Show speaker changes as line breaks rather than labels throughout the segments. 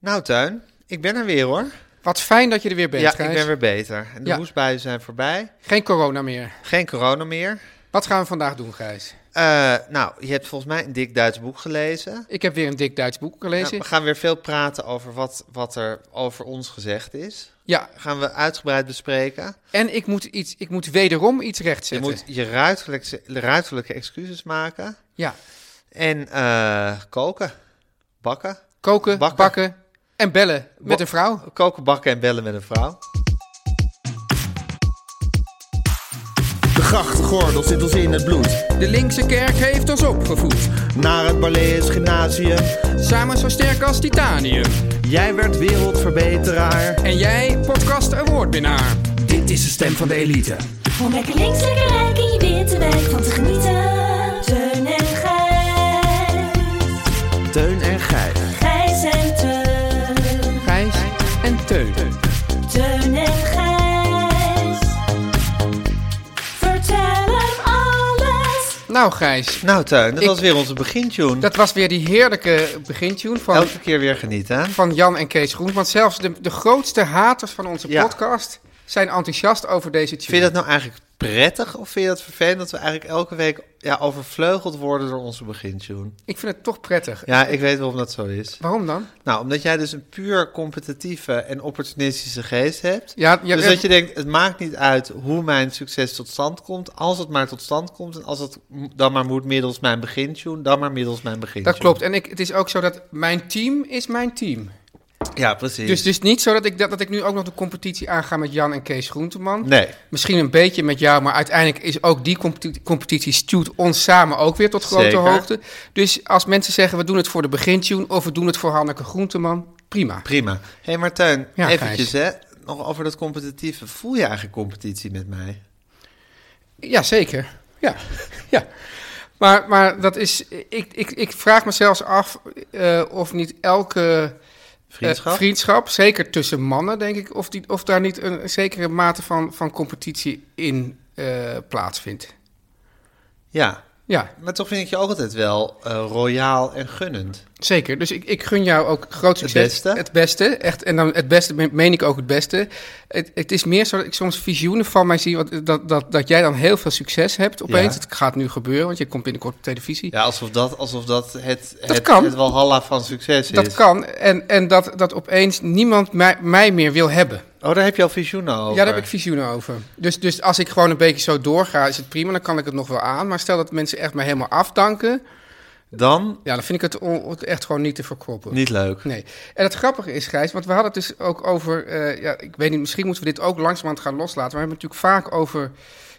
Nou, Tuin, ik ben er weer hoor.
Wat fijn dat je er weer bent,
ja,
Gijs.
ik ben weer beter. En de
Ja.
hoestbuien zijn voorbij.
Geen corona meer.
Geen corona meer.
Wat gaan we vandaag doen, Gijs?
Eh, nou, je hebt volgens mij een dik Duits boek gelezen.
Ik heb weer een dik Duits boek
Nou,
gelezen.
we gaan weer veel praten over wat, wat er over ons gezegd is.
Ja,
Gaan we uitgebreid bespreken.
en ik moet, iets, ik moet wederom iets
Je
rechtzetten.
moet je ruiterlijke, ruiterlijke excuses maken.
Ja,
En eh, koken. Bakken.
koken,
Bakken.
bakken, en bellen met
Ba-
een vrouw.
Koken, bakken en bellen met een vrouw.
De grachtgordel zit ons in het bloed.
De linkse kerk heeft ons opgevoed.
Naar het Barlees Gymnasium.
Samen zo sterk als titanium.
Jij werd wereldverbeteraar.
En jij, podcast een woordbinaar.
Dit is de stem van de elite.
Om lekker links, lekker rijk in je witte wijk van te genieten. Teun en Gijs.
Teun en Geijer.
Gijs en Teun.
Gijs en Teun.
Teun en Gijs. Vertel hem alles.
Nou, Gijs,
Nou, Tuin, dat
Ik-
was weer onze begintune.
dat was weer die heerlijke begintune van,
Elke keer weer genieten. hè?
van Jan en Kees Groen. Want zelfs de, de grootste haters van onze
Ja.
podcast zijn enthousiast over deze tune.
Vind je dat nou eigenlijk prettig of vind je dat vervelend dat we eigenlijk elke week ja, overvleugeld worden door onze begintune?
Ik vind het toch prettig.
Ja, ik weet waarom dat zo is.
Waarom dan?
Nou, omdat jij dus een puur competitieve en opportunistische geest hebt.
Ja, ja,
dus
eh,
dat je denkt, het maakt niet uit hoe mijn succes tot stand komt, als het maar tot stand komt. En als het m- dan maar moet middels mijn begintune, dan maar middels mijn begintune.
Dat klopt. En ik, het is ook zo dat mijn team is mijn team.
Ja, precies.
Dus het is niet zo dat ik, dat, dat ik nu ook nog de competitie aanga met Jan en Kees Groenteman.
Nee,
Misschien een beetje met jou, maar uiteindelijk is ook die competi- competitie stuwt ons samen ook weer tot grote
Zeker.
hoogte. Dus als mensen zeggen we doen het voor de begintune of we doen het voor Hanneke Groenteman, prima.
prima. Hé hey Martijn,
Ja,
eventjes hè, nog over dat competitieve. Voel je eigenlijk competitie met mij?
Jazeker. Ja. ja. Maar, maar dat is, ik, ik, ik vraag me zelfs af eh, of niet elke eh,
Vriendschap?
vriendschap, zeker tussen mannen, denk ik, of, die, of daar niet een zekere mate van, van competitie in eh, plaatsvindt.
ja.
Ja,
Maar toch vind ik je ook altijd wel eh, royaal en gunnend.
zeker. Dus ik, ik gun jou ook groot succes.
beste.
Het beste, echt. En dan het beste me- meen ik ook het beste. Het, het is meer zo dat ik soms visioenen van mij zie, wat, dat, dat, dat jij dan heel veel succes hebt opeens.
Ja.
Het gaat nu gebeuren, want je komt binnenkort op televisie.
Ja, alsof dat, alsof dat het, het,
kan.
het walhalla van succes is.
Dat kan. En, en dat, dat opeens niemand mij, mij meer wil hebben.
Oh, daar heb je al visioenen over.
Ja, daar heb ik visioenen over. Dus, dus als ik gewoon een beetje zo doorga, is het prima. Dan kan ik het nog wel aan. Maar stel dat mensen echt mij helemaal afdanken.
Dan
Ja, dan vind ik het on- echt gewoon niet te verkroppen.
niet leuk.
Nee. En het grappige is, Gijs, want we hadden het dus ook over... eh, ja, ik weet niet, misschien moeten we dit ook langzamerhand gaan loslaten. Maar we hebben het natuurlijk vaak over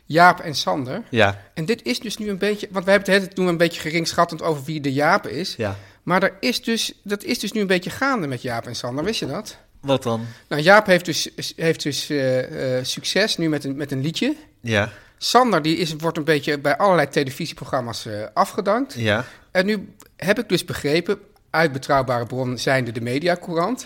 Jaap en Sander.
Ja,
En dit is dus nu een beetje... Want wij hebben het de hele tijd doen we een beetje geringschattend over wie de Jaap is.
ja.
Maar er is dus, dat is dus nu een beetje gaande met Jaap en Sander, wist je dat?
Wat dan?
Nou, Jaap heeft dus, heeft dus eh, eh, succes nu met een, met een liedje.
Ja,
Sander die is, wordt een beetje bij allerlei televisieprogramma's eh, afgedankt.
ja.
En nu heb ik dus begrepen, uit betrouwbare bron zijnde de Mediacourant,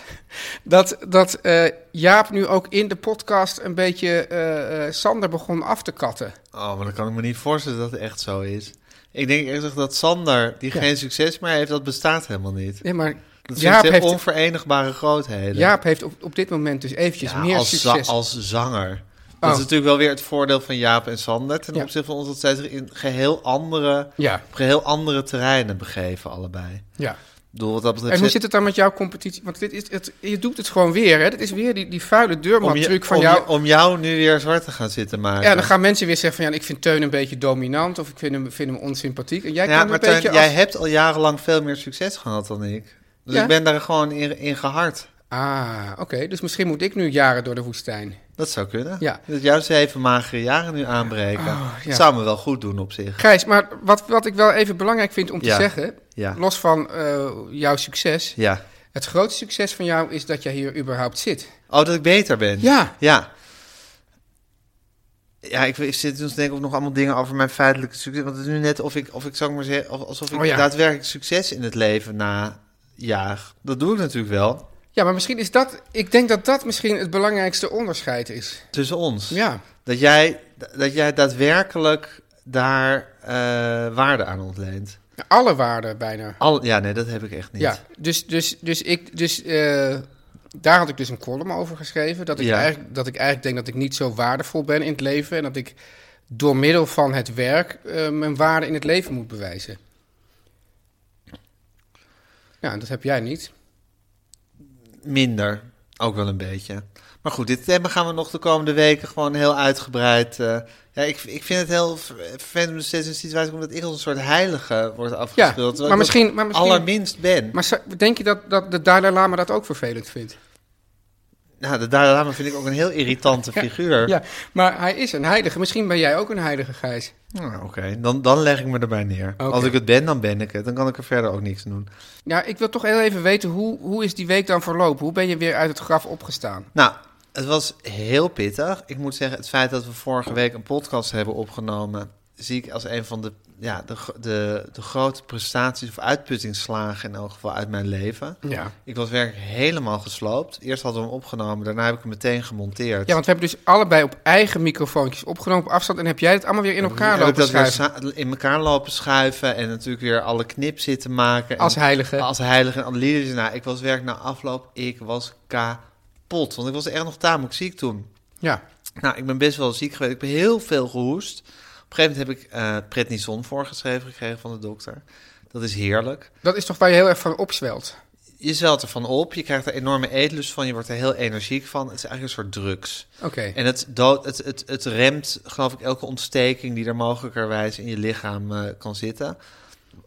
dat, dat eh, Jaap nu ook in de podcast een beetje eh, eh, Sander begon af te katten.
Oh, maar dan kan ik me niet voorstellen dat het echt zo is. Ik denk echt dat Sander, die geen succes meer heeft, dat bestaat helemaal niet.
Nee, maar
Dat zijn
Jaap
twee
heeft,
onverenigbare grootheden.
Jaap heeft op, op dit moment dus eventjes
Ja,
meer
als, za-
succes.
als zanger.
Oh.
Dat is natuurlijk wel weer het voordeel van Jaap en Sander ten
Ja.
opzichte van ons dat zij zich in geheel andere,
Ja,
op geheel andere terreinen begeven allebei. Ik
ja.
bedoel, wat dat betreft
En hoe
zit-
zit het dan met jouw competitie? Want dit is, het, je doet het gewoon weer, hè? Dit is weer die, die vuile
om, je-
deurman-truc van
om,
jou.
je- om jou nu weer zwart te gaan zitten maken.
Ja, dan gaan mensen weer zeggen van ja, ik vind Teun een beetje dominant of ik vind hem, vind hem onsympathiek. En jij
Ja,
kan een
maar Teun,
beetje
jij
als-
hebt al jarenlang veel meer succes gehad dan ik. Dus
Ja.
ik ben daar gewoon in, in gehard.
Ah, oké. Dus misschien moet ik nu jaren door de woestijn.
Dat zou kunnen.
Ja.
Dat jouw zeven magere jaren nu aanbreken.
Oh, ja.
Dat zou me wel goed doen op zich.
Gijs, maar wat, wat ik wel even belangrijk vind om te
Ja.
zeggen,
Ja.
los van eh, jouw succes.
Ja.
Het grootste succes van jou is dat jij hier überhaupt zit.
Oh, dat ik beter ben?
Ja.
Ja. Ja, ik weet- zit dus denk ik ook nog allemaal dingen over mijn feitelijke succes. Want het is nu net of ik, of ik zou ik maar zeggen, of- alsof ik
Oh ja.
daadwerkelijk succes in het leven najaag. Dat doe ik natuurlijk wel.
Ja, maar misschien is dat, ik denk dat dat misschien het belangrijkste onderscheid is.
Tussen ons.
Ja,
Dat, jij, dat jij daadwerkelijk daar eh, waarde aan ontleent.
alle waarden bijna.
Al, ja, nee, dat heb ik echt niet.
Ja, dus, dus, dus, ik, dus eh, daar had ik dus een column over geschreven. Dat ik,
Ja.
eigenlijk, dat ik eigenlijk denk dat ik niet zo waardevol ben in het leven. En dat ik door middel van het werk eh, mijn waarde in het leven moet bewijzen. Ja, en dat heb jij niet.
Minder. Ook wel een beetje. Maar goed, dit thema gaan we nog de komende weken gewoon heel uitgebreid. eh, ja, ik, ik vind het heel ver- vervelend om nog steeds in een situatie te komen dat ik als een soort heilige word afgespeeld. terwijl ik
maar
dat
misschien- maar misschien-
Allerminst ben.
Maar zou- denk je dat, dat de Dalai Lama dat ook vervelend vindt?
nou, de Dalai Lama vind ik ook een heel irritante figuur.
Ja, maar hij is een heilige. Misschien ben jij ook een heilige, Gijs.
Nou, Oké, dan, dan leg ik me erbij neer.
Oké.
Als ik het ben, dan ben ik het. Dan kan ik er verder ook niks aan doen.
Ja, ik wil toch heel even weten, hoe, hoe is die week dan verlopen? Hoe ben je weer uit het graf opgestaan?
Nou, het was heel pittig. Ik moet zeggen, het feit dat we vorige week een podcast hebben opgenomen, zie ik als een van de, ja, de, gro- de, de grote prestaties of uitputtingsslagen in elk geval uit mijn leven.
Ja.
Ik was werkelijk helemaal gesloopt. Eerst hadden we hem opgenomen, daarna heb ik hem meteen gemonteerd.
Ja, want we hebben dus allebei op eigen microfoontjes opgenomen op afstand. En heb jij het allemaal weer in
Heb
elkaar
ik
lopen
dat weer
schuiven
sa- in elkaar lopen schuiven en natuurlijk weer alle knips zitten maken. En
als heilige.
Als heilige en alle liedjes. Nou, ik was werk na afloop, ik was kapot. Want ik was echt nog tamelijk ziek toen.
Ja.
Nou, ik ben best wel ziek geweest. Ik heb heel veel gehoest. Op een gegeven moment heb ik eh prednison voorgeschreven gekregen van de dokter. Dat is heerlijk.
Dat is toch waar je heel erg van opzwelt.
Je zwelt ervan op, je krijgt er enorme eetlust van, je wordt er heel energiek van. Het is eigenlijk een soort drugs.
Oké.
En het, dood, het, het, het remt, geloof ik, elke ontsteking die er mogelijkerwijs in je lichaam eh, kan zitten.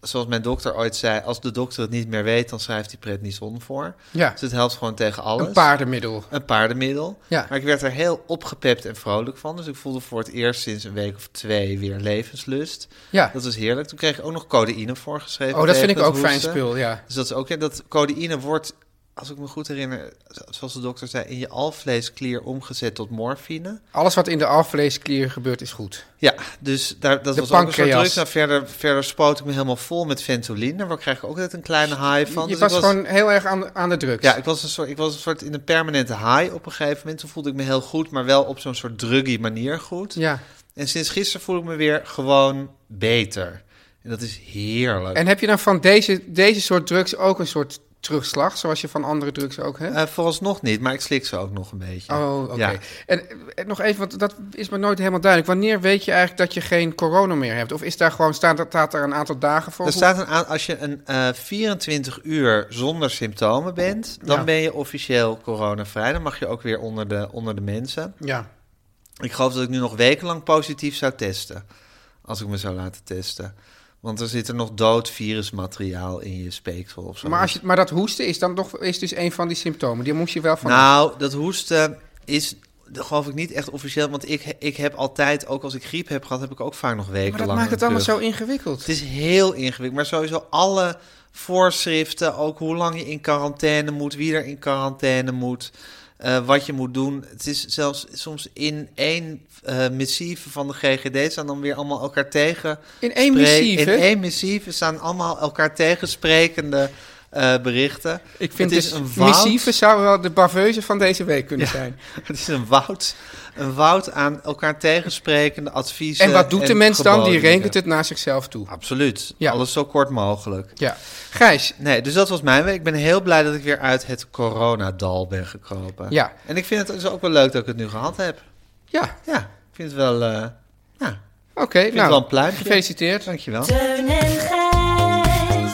Zoals mijn dokter ooit zei, als de dokter het niet meer weet, dan schrijft hij prednison voor.
Ja,
Dus het helpt gewoon tegen alles.
een paardenmiddel.
Een paardenmiddel.
Ja.
Maar ik werd er heel opgepept en vrolijk van. Dus ik voelde voor het eerst sinds een week of twee weer levenslust.
Ja.
Dat was heerlijk. Toen kreeg ik ook nog codeïne voorgeschreven.
Oh, dat
tegen
vind ik ook
hoesten.
fijn spul, ja.
Dus dat is ook... En dat codeïne wordt, als ik me goed herinner, zo- zoals de dokter zei... in je alvleesklier omgezet tot morfine.
Alles wat in de alvleesklier gebeurt is goed.
Ja, dus daar, dat
De
was ook een soort
pancreas.
drugs. Nou, verder, verder spoot ik me helemaal vol met ventoline. Waar krijg ik ook net een kleine high van.
je
Dus ik
was, gewoon heel erg aan, aan de drugs.
Ja, ik was, een soort, ik was een soort in een permanente high op een gegeven moment. Toen voelde ik me heel goed, maar wel op zo'n soort druggy manier goed.
Ja.
En sinds gisteren voel ik me weer gewoon beter. En dat is heerlijk.
En heb je dan van deze, deze soort drugs ook een soort terugslag, zoals je van andere drugs ook hebt?
Eh, vooralsnog niet, maar ik slik ze ook nog een beetje.
Oh, oké.
Ja.
En, en nog even, want dat is me nooit helemaal duidelijk. Wanneer weet je eigenlijk dat je geen corona meer hebt? Of is daar gewoon, staat, er- staat er een aantal dagen voor?
Er staat een aan, als je een eh, 24 uur zonder symptomen bent, dan
Ja.
ben je officieel coronavrij. Dan mag je ook weer onder de, onder de mensen.
Ja.
Ik geloof dat ik nu nog wekenlang positief zou testen. Als ik me zou laten testen. Want er zit er nog dood virusmateriaal in je speeksel of zo.
Maar, als je, maar dat hoesten is dan toch is dus een van die symptomen. Die moest je wel van.
Nou, dat hoesten is, dat geloof ik, niet echt officieel. Want ik, ik heb altijd, ook als ik griep heb gehad, heb ik ook vaak nog wekenlang.
maar dat maakt het
een
allemaal
kuch.
zo ingewikkeld.
Het is heel ingewikkeld. Maar sowieso alle voorschriften, ook hoe lang je in quarantaine moet, wie er in quarantaine moet, eh, wat je moet doen. Het is zelfs soms in één eh missieve van de GGD staan dan weer allemaal elkaar tegen.
In één
spree-
missieve?
In één missieve staan allemaal elkaar tegensprekende eh, berichten.
Ik vind
het
dus missieven zou wel de baveuze van deze week kunnen zijn.
Het is een woud, een woud aan elkaar tegensprekende adviezen.
En wat doet de mens dan? Die
geboden.
rekent het naar zichzelf toe.
Absoluut.
Ja.
Alles zo kort mogelijk.
Ja. Gijs,
Nee, dus dat was mijn week. Ik ben heel blij dat ik weer uit het coronadal ben gekropen.
Ja.
En ik vind het dus ook wel leuk dat ik het nu gehad heb.
ja,
Ja, ik vind het wel... eh ja,
oké.
ik vind het wel een
nou,
pluimpje.
gefeliciteerd.
Dankjewel.
Teun en Gijs.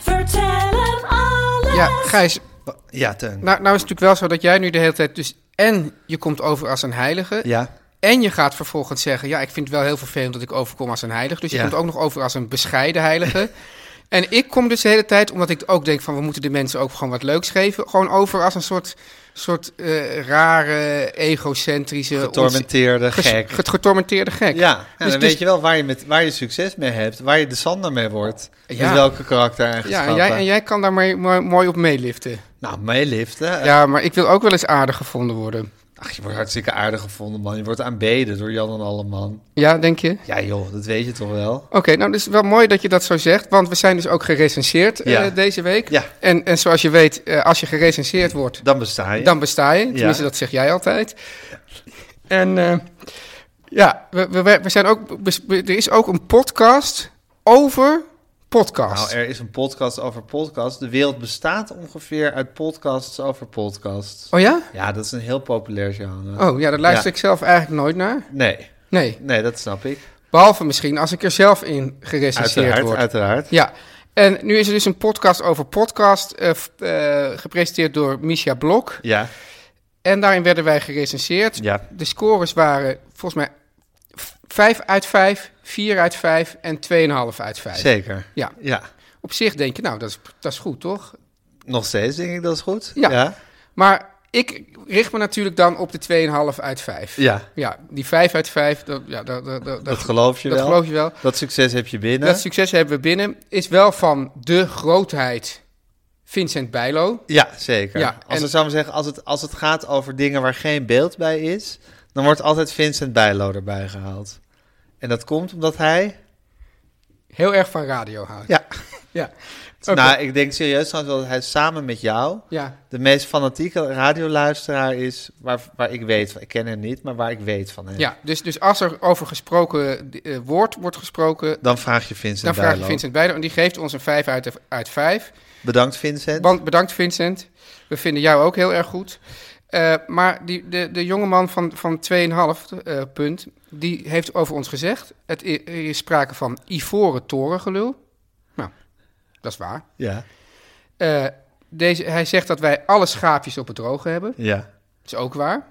Vertel hem alles.
Ja, Gijs,
Ja, Teun.
nou, nou is het natuurlijk wel zo dat jij nu de hele tijd dus... En je komt over als een heilige.
Ja.
En je gaat vervolgens zeggen, ja, ik vind het wel heel vervelend dat ik overkom als een heilige. Dus je
Ja.
komt ook nog over als een bescheiden heilige. en ik kom dus de hele tijd, omdat ik ook denk van, we moeten de mensen ook gewoon wat leuks geven. Gewoon over als een soort, soort eh, rare, egocentrische...
Getormenteerde
ons- ges-
gek.
get- getormenteerde gek.
ja, en
Dus-
dan
dus-
weet je wel waar je, met, waar je succes mee hebt, waar je de Sander mee wordt.
Ja.
Met welke karakter
Ja,
eigenschappen.
en jij, en jij kan daar maar- maar mooi op meeliften.
Nou, meeliften. eh,
Ja, maar ik wil ook wel eens aardig gevonden worden.
Ach, je wordt hartstikke aardig gevonden, man. Je wordt aanbeden door Jan en Alleman.
Ja, denk je?
Ja, joh, dat weet je toch wel?
Oké, nou, dus wel mooi dat je dat zo zegt, want we zijn dus ook gerecenseerd
Ja.
eh, deze week.
Ja.
En, en zoals je weet, eh, als je gerecenseerd wordt,
Dan besta je.
dan besta je. Tenminste,
Ja.
dat zeg jij altijd. En eh, ja, we, we, we zijn ook, bes- we- er is ook een podcast over podcast.
Nou, er is een podcast over podcast. De wereld bestaat ongeveer uit podcasts over podcasts.
Oh ja?
Ja, dat is een heel populair genre.
Oh ja, daar luister ik zelf eigenlijk nooit naar.
Nee,
Nee,
nee, dat snap ik.
behalve misschien als ik er zelf in gerecenseerd
Uiteraard,
word.
uiteraard.
Ja, en nu is er dus een podcast over podcast, eh, f- eh, gepresenteerd door Misha Blok.
Ja,
En daarin werden wij gerecenseerd.
ja.
De scores waren volgens mij 5 uit 5, 4 uit 5 en 2,5 uit 5.
zeker.
Ja.
Ja,
Op zich denk je, nou, dat is, dat is goed, toch?
nog steeds denk ik dat is goed.
Ja.
ja.
Maar ik richt me natuurlijk dan op de 2,5 uit 5.
Ja.
Ja, die 5 uit 5, dat, ja, dat, dat, dat,
Dat geloof je
dat
wel.
geloof je wel.
Dat succes heb je binnen.
Dat succes hebben we binnen. Is wel van de grootheid Vincent Bijlo.
Ja, zeker.
Ja,
als,
en-
het, zou ik zeggen, als, het, als het gaat over dingen waar geen beeld bij is, dan wordt altijd Vincent Bijlo erbij gehaald. En dat komt omdat hij...
Heel erg van radio houdt.
Ja.
Ja. Oké.
Nou, ik denk serieus trouwens wel dat hij samen met jou
ja.
de meest fanatieke radioluisteraar is waar, waar ik weet van. Ik ken hem niet, maar waar ik weet van hem.
ja. Dus, dus als er over gesproken eh, woord wordt gesproken,
Dan vraag je Vincent
Dan vraag
Bijlo.
je Vincent Bijlo en die geeft ons een 5 uit, uit 5.
Bedankt Vincent.
Want bedankt Vincent, we vinden jou ook heel erg goed. Eh, maar die, de, de jongeman van, van 2,5 eh, punt, die heeft over ons gezegd... het i- er is sprake van ivoren torengelul. Nou, dat is waar.
Ja,
Eh, deze, hij zegt dat wij alle schaapjes op het droge hebben.
ja.
Dat is ook waar.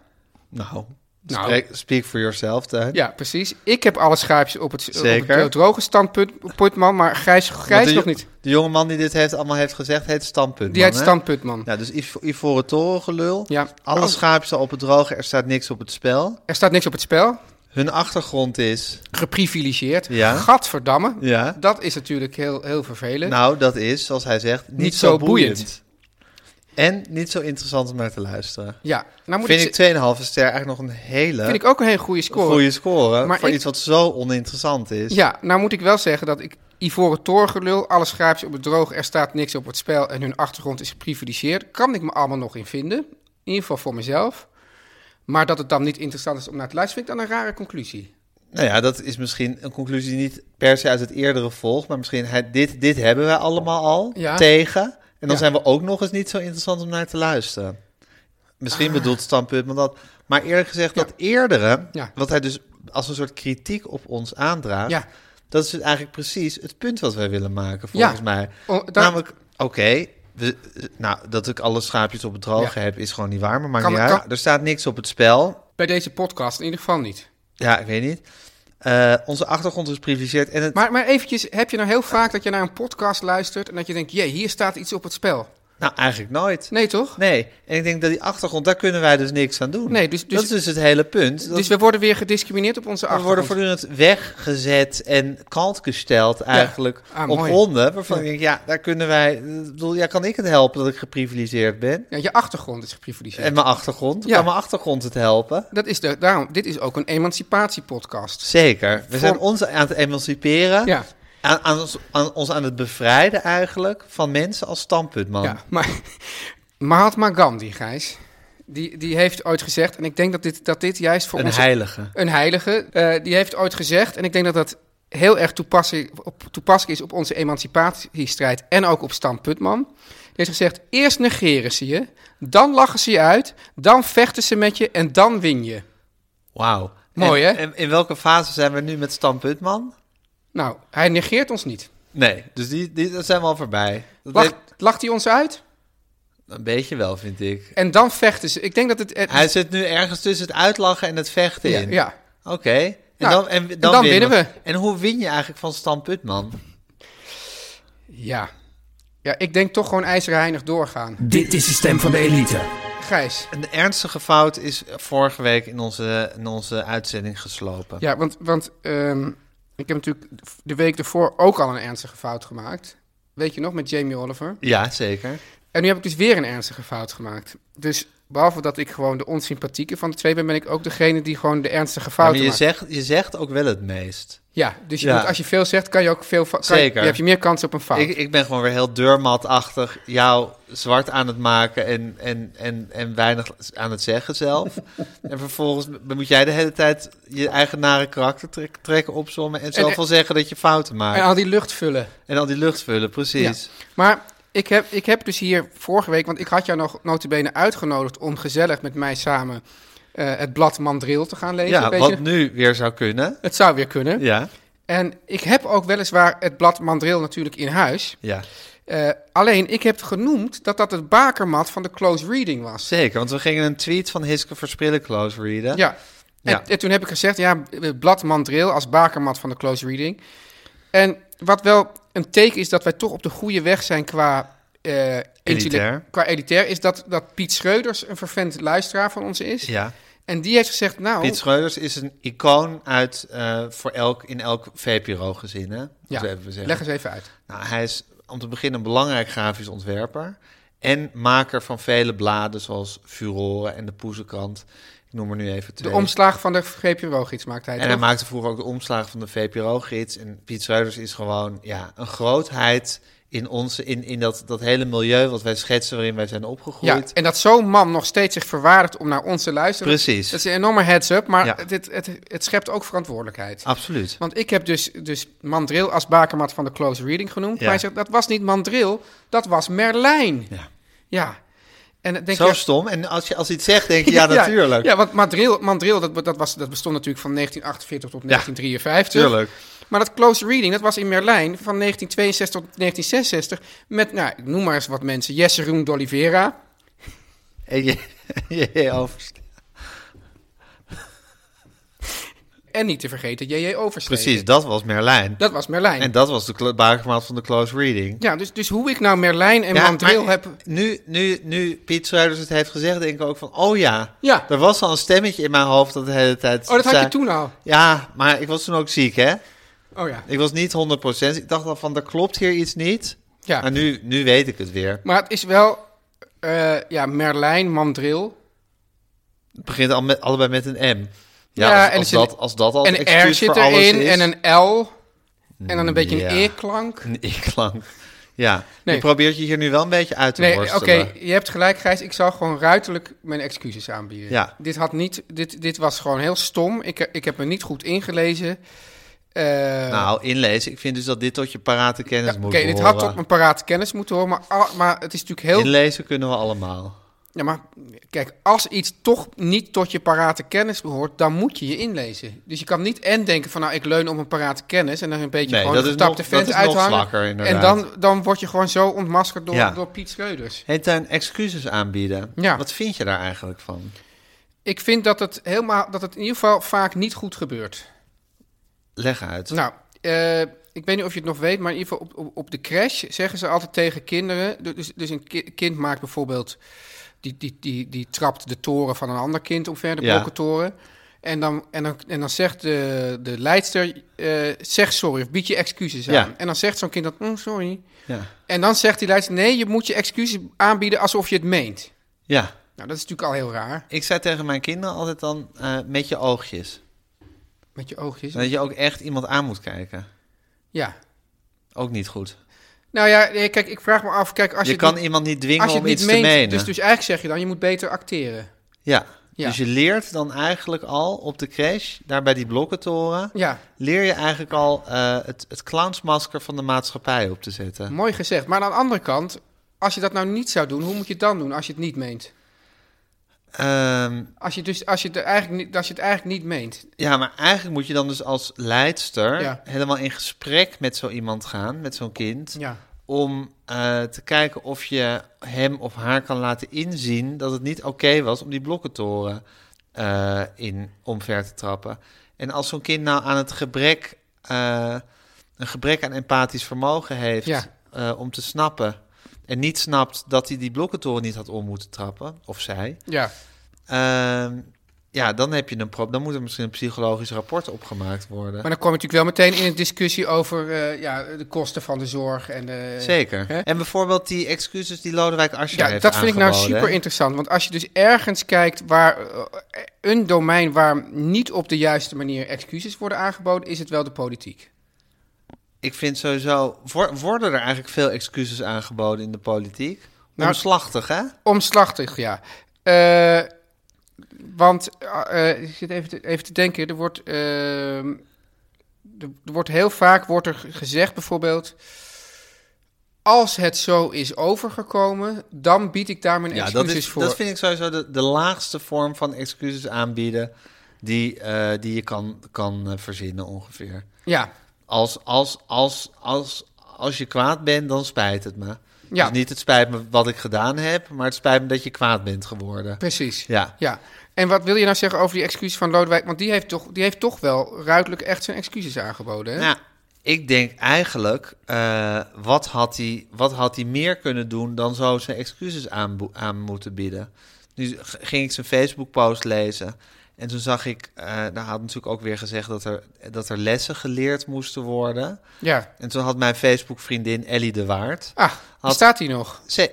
Nou,
Nou.
spreek- speak for yourself, Teun.
Ja, precies. Ik heb alle schaapjes op het, op
Zeker.
het droge standpunt, Putman, maar Gijs,
Want
Gijs
de,
nog
jo-
niet.
De jongeman die dit heeft, allemaal heeft gezegd, heet Standpunt.
Die
man,
uit
hè?
standpuntman.
Ja, dus Ivo- Ivoren Toren gelul.
Ja. Oh.
Alle schaapjes al op het droge, er staat niks op het spel.
Er staat niks op het spel.
Hun achtergrond is...
geprivilegeerd.
Ja.
Gadverdamme.
Ja.
Dat is natuurlijk heel, heel vervelend.
Nou, dat is, zoals hij zegt, niet,
Niet
zo,
zo
boeiend.
boeiend.
En niet zo interessant om naar te luisteren.
ja, nou moet
Vind
ik,
ik 2,5
ze-
ster eigenlijk nog een hele
vind ik ook een hele goede score.
goede score
Maar
voor
ik-
iets wat zo oninteressant is.
Ja, nou moet ik wel zeggen dat ik Ivoren Toorgelul, alle schaapjes op het droog, er staat niks op het spel en hun achtergrond is geprivilegeerd. Kan ik me allemaal nog in vinden. In ieder geval voor mezelf. Maar dat het dan niet interessant is om naar te luisteren, vind ik dan een rare conclusie.
Nou ja, dat is misschien een conclusie die niet per se uit het eerdere volgt, maar misschien hij, dit, dit hebben wij allemaal al
Ja.
tegen. En dan
Ja.
zijn we ook nog eens niet zo interessant om naar te luisteren. Misschien
Ah.
bedoelt standpunt maar dat. Maar eerlijk gezegd, dat eerdere,
Ja.
wat hij dus als een soort kritiek op ons aandraagt,
Ja.
dat is dus eigenlijk precies het punt wat wij willen maken, volgens
Ja.
mij.
O, daar-
Namelijk, oké, we- nou, dat ik alle schaapjes op het droge heb, is gewoon niet waar, maar maakt
Kan-
niet uit.
kan-
Er staat niks op het spel.
Bij deze podcast in ieder geval niet.
Ja, ik weet niet. Eh, onze achtergrond is geprivilegeerd en het...
Maar, maar eventjes, heb je nou heel vaak dat je naar een podcast luistert en dat je denkt, jee, hier staat iets op het spel.
Nou, eigenlijk nooit.
Nee toch?
Nee, en ik denk dat die achtergrond, daar kunnen wij dus niks aan doen.
Nee, dus- dus-
dat is dus het hele punt. Dat
Dus we worden weer gediscrimineerd op onze
we
achtergrond.
worden voortdurend weggezet en kant gesteld eigenlijk
Ah,
op
mooi.
gronden waarvan
Ja.
ik denk, ja, daar kunnen wij... Ik bedoel, ja, kan ik het helpen dat ik geprivilegeerd ben?
Ja, je achtergrond is geprivilegeerd.
En mijn achtergrond?
Ja.
Kan mijn achtergrond het helpen?
dat is de, daarom, dit is ook een emancipatiepodcast.
Zeker. We zijn
Voor-
ons aan het emanciperen.
Ja.
aan, aan, ons, aan ons aan het bevrijden eigenlijk van mensen als standpuntman.
Ja, maar Mahatma Gandhi, Gijs, die, die heeft ooit gezegd, en ik denk dat dit, dat dit juist voor
Een
ons...
heilige.
Een heilige, eh, die heeft ooit gezegd, en ik denk dat dat heel erg toepasselijk, op, toepasselijk is op onze emancipatiestrijd en ook op Stan Putman. Die heeft gezegd, eerst negeren ze je, dan lachen ze je uit, dan vechten ze met je en dan win je.
Wauw.
Mooi,
En-
hè?
En in welke fase zijn we nu met standpuntman?
Nou, hij negeert ons niet.
Nee, dus die, die dat zijn we al voorbij. Dat
Lacht,
heeft-
Eh, lacht hij ons uit
een beetje wel, vind ik.
en dan vechten ze. Ik denk dat het... het-
Hij zit nu ergens tussen het uitlachen en het vechten
ja,
in.
ja.
Oké. En,
Nou,
dan, en, dan,
dan winnen we.
En hoe win je eigenlijk van standpuntman?
Ja. Ja, ik denk toch gewoon ijzeren heinig doorgaan.
Dit is de stem van de elite.
Gijs.
Een ernstige fout is vorige week in onze, in onze uitzending geslopen.
Ja, want, want ehm, ik heb natuurlijk de week ervoor ook al een ernstige fout gemaakt. Weet je nog, met Jamie Oliver.
Ja, zeker.
En nu heb ik dus weer een ernstige fout gemaakt. Dus behalve dat ik gewoon de onsympathieke van de twee ben, ben ik ook degene die gewoon de ernstige
Maar
fouten
je
maakt.
zegt, je zegt ook wel het meest.
Ja, dus je
Ja.
moet- als je veel zegt, kan je ook veel... fa- Kan je-
Zeker.
Je, heb je meer kans op een fout.
Ik, ik ben gewoon weer heel deurmatachtig jou zwart aan het maken en, en, en, en weinig aan het zeggen zelf. en vervolgens moet jij de hele tijd je eigen nare karaktertrek trekken opzommen en zoveel zeggen dat je fouten maakt.
eh, En al die lucht vullen.
en al die lucht vullen, precies.
Maar ik heb, ik heb dus hier vorige week, want ik had jou nog notabene uitgenodigd om gezellig met mij samen eh, het blad Mandril te gaan lezen.
Ja,
weet
wat
je?
nu weer zou kunnen.
Het zou weer kunnen.
Ja,
En ik heb ook weliswaar het blad Mandril natuurlijk in huis.
ja,
Eh, alleen, ik heb genoemd dat dat het bakermat van de close reading was.
zeker. Want we gingen een tweet van Hiske Versprillen close readen.
Ja. En,
Ja.
en toen heb ik gezegd, ja, het blad Mandril als bakermat van de close reading. En wat wel een teken is dat wij toch op de goede weg zijn qua... eh,
Elitair.
Qua elitair is dat, dat Piet Schreuders een vervent luisteraar van ons is.
ja.
En die heeft gezegd, nou...
Piet Schreuders is een icoon uit, eh, voor elk, in elk VPRO-gezin, hè?
ja,
Zo even we zeggen.
leg eens even uit.
Nou, hij is om te beginnen een belangrijk grafisch ontwerper. En maker van vele bladen zoals Furore en de Poezenkrant. Ik noem er nu even
De
twee.
omslag van de GPO-gids maakt hij
en hij
toch?
maakte vroeger ook de omslagen van de VPRO-gids. En Piet Schreuders is gewoon ja, een grootheid in, onze, in, in dat, dat hele milieu wat wij schetsen waarin wij zijn
Ja,
opgegroeid.
en dat zo'n man nog steeds zich verwaardigt om naar ons te luisteren.
Precies.
Dat is een enorme heads-up, maar
Ja.
het, het, het, het schept ook verantwoordelijkheid.
Absoluut.
Want ik heb dus, dus Mandril als bakermat van de close reading genoemd.
Ja.
Maar hij zegt, dat was niet Mandril, dat was Merlijn.
Ja.
Ja. En dan denk
Zo
je,
stom. En als je als hij het zegt, denk je ja, natuurlijk.
Ja, want Mandril, Mandril dat, dat, was, dat bestond natuurlijk van 1948 tot 1953.
Tuurlijk.
Maar dat close reading, dat was in Merlijn van 1962 tot 1966. Met, nou, ik noem maar eens wat mensen. Jesse Roem d'Oliveira.
En je, je overst-
En niet te vergeten J.J. Overstreek.
Precies, dat was Merlijn.
Dat was Merlijn.
En dat was de klo- bakermat van de close reading.
Ja, dus, dus hoe ik nou Merlijn en
Ja,
Mandril
maar
heb...
Nu, nu, nu Piet Schreuders het heeft gezegd, denk ik ook van... Oh ja,
Ja.
er was al een stemmetje in mijn hoofd dat de hele tijd...
Oh, dat had
zei-
je toen al.
Ja, maar ik was toen ook ziek, hè?
Oh ja.
Ik was niet 100%. Ik dacht al van, er klopt hier iets niet.
Ja.
Maar nu, nu weet ik het weer.
Maar het is wel... eh, ja, Merlijn, Mandril.
Het begint al met, allebei met een M. Ja,
Ja,
als,
en
als,
er zit-
dat, als dat al het
En R
excuus
zit
voor alles
erin
is.
en een L. En dan een beetje een
ja.
E-klank.
Een ik-klank. Ja,
Nee.
je probeert je hier nu wel een beetje uit te
Nee, oké,
worstelen.
je hebt gelijk, Gijs. Ik zal gewoon ruiterlijk mijn excuses aanbieden.
Ja.
Dit, had niet, dit, dit was gewoon heel stom. Ik, eh, ik heb me niet goed ingelezen. Eh,
Nou, inlezen. Ik vind dus dat dit tot je parate kennis
ja,
moet
Oké, dit
behoren.
had tot mijn paraat kennis moeten horen. Maar, al- maar het is natuurlijk heel
Inlezen kunnen we allemaal.
Ja, maar kijk, als iets toch niet tot je parate kennis behoort, dan moet je je inlezen. Dus je kan niet en denken van nou, ik leun op een parate kennis en dan een beetje
Nee,
gewoon
dat
een
is
getapte
nog- dat
vent
is nog
uithangen.
slakker, inderdaad.
en dan, dan word je gewoon zo ontmaskerd door,
Ja.
door Piet Schreuders.
Heet daar een excuses aanbieden?
Ja.
Wat vind je daar eigenlijk van?
Ik vind dat het, helemaal, dat het in ieder geval vaak niet goed gebeurt.
Leg uit.
Nou, eh, ik weet niet of je het nog weet, maar in ieder geval op, op, op de crash zeggen ze altijd tegen kinderen... Dus, dus een ki- kind maakt bijvoorbeeld... Die, die, die, die trapt de toren van een ander kind omver, de
Ja.
blokkentoren. En dan, en, dan, en dan zegt de, de leidster, eh, zeg sorry of bied je excuses aan.
Ja.
En dan zegt zo'n kind dat, "Mm, sorry.
Ja.
En dan zegt die leidster, nee, je moet je excuses aanbieden alsof je het meent.
ja,
Nou, dat is natuurlijk al heel raar,
ik zei tegen mijn kinderen altijd dan eh, met je oogjes.
met je oogjes.
Dat je ook echt iemand aan moet kijken.
Ja,
Ook niet goed.
Nou ja, nee, kijk, ik vraag me af, kijk, als
je
je,
kan
het niet,
iemand niet dwingen
als je
om
het
iets
niet meent,
te menen.
Dus, dus eigenlijk zeg je dan, je moet beter acteren.
ja.
Ja.
dus je leert dan eigenlijk al op de crash, daar bij die blokkentoren,
Ja,
leer je eigenlijk al eh, het, het clownsmasker van de maatschappij op te zetten.
mooi gezegd. Maar aan de andere kant, als je dat nou niet zou doen, hoe moet je het dan doen als je het niet meent?
Ehm,
Als je, dus, als je, het, eigenlijk niet, als je het eigenlijk niet meent.
ja, maar eigenlijk moet je dan dus als leidster
Ja.
helemaal in gesprek met zo iemand gaan, met zo'n kind.
Ja.
om eh, te kijken of je hem of haar kan laten inzien dat het niet oké was om die blokkentoren eh, in omver te trappen. En als zo'n kind nou aan het gebrek, eh, een gebrek aan empathisch vermogen heeft
Ja.
eh, om te snappen en niet snapt dat hij die blokkentoren niet had om moeten trappen, of zij,
Ja.
ehm, ja, dan heb je een probleem. Dan moet er misschien een psychologisch rapport opgemaakt worden.
Maar dan kom je natuurlijk wel meteen in een discussie over eh, ja, de kosten van de zorg. En de,
Zeker.
Hè?
En bijvoorbeeld die excuses die Lodewijk Asscher
Ja,
heeft
dat vind ik nou
aangeboden,
super
hè?
interessant. Want als je dus ergens kijkt waar eh, een domein waar niet op de juiste manier excuses worden aangeboden, is het wel de politiek.
Ik vind sowieso, wor- worden er eigenlijk veel excuses aangeboden in de politiek?
Nou-
Omslachtig, hè?
Omslachtig, ja. Eh, want eh, eh, ik zit even te, even te denken, er wordt, eh, er, er wordt heel vaak wordt er gezegd bijvoorbeeld. Als het zo is overgekomen, dan bied ik daar mijn
Ja, dat,
excuses
is,
voor.
dat vind ik sowieso de, de laagste vorm van excuses aanbieden die, eh, die je kan, kan eh, verzinnen ongeveer.
Ja,
Als, als, als, als, als je kwaad bent, dan spijt het me.
Ja.
Dus niet het spijt me wat ik gedaan heb, maar het spijt me dat je kwaad bent geworden.
precies.
Ja.
Ja, en wat wil je nou zeggen over die excuses van Lodewijk? Want die heeft toch, die heeft toch wel ruidelijk echt zijn excuses aangeboden. Hè?
Nou, ik denk eigenlijk, eh, wat, had hij, wat had hij meer kunnen doen dan zo zijn excuses aanbo- aan moeten bieden? Nu g- ging ik zijn Facebook-post lezen en toen zag ik, eh daar had natuurlijk ook weer gezegd dat er, dat er lessen geleerd moesten worden.
Ja.
En toen had mijn Facebook-vriendin Ellie de Waard.
Ah,
Had-
daar staat hij nog.
Ze,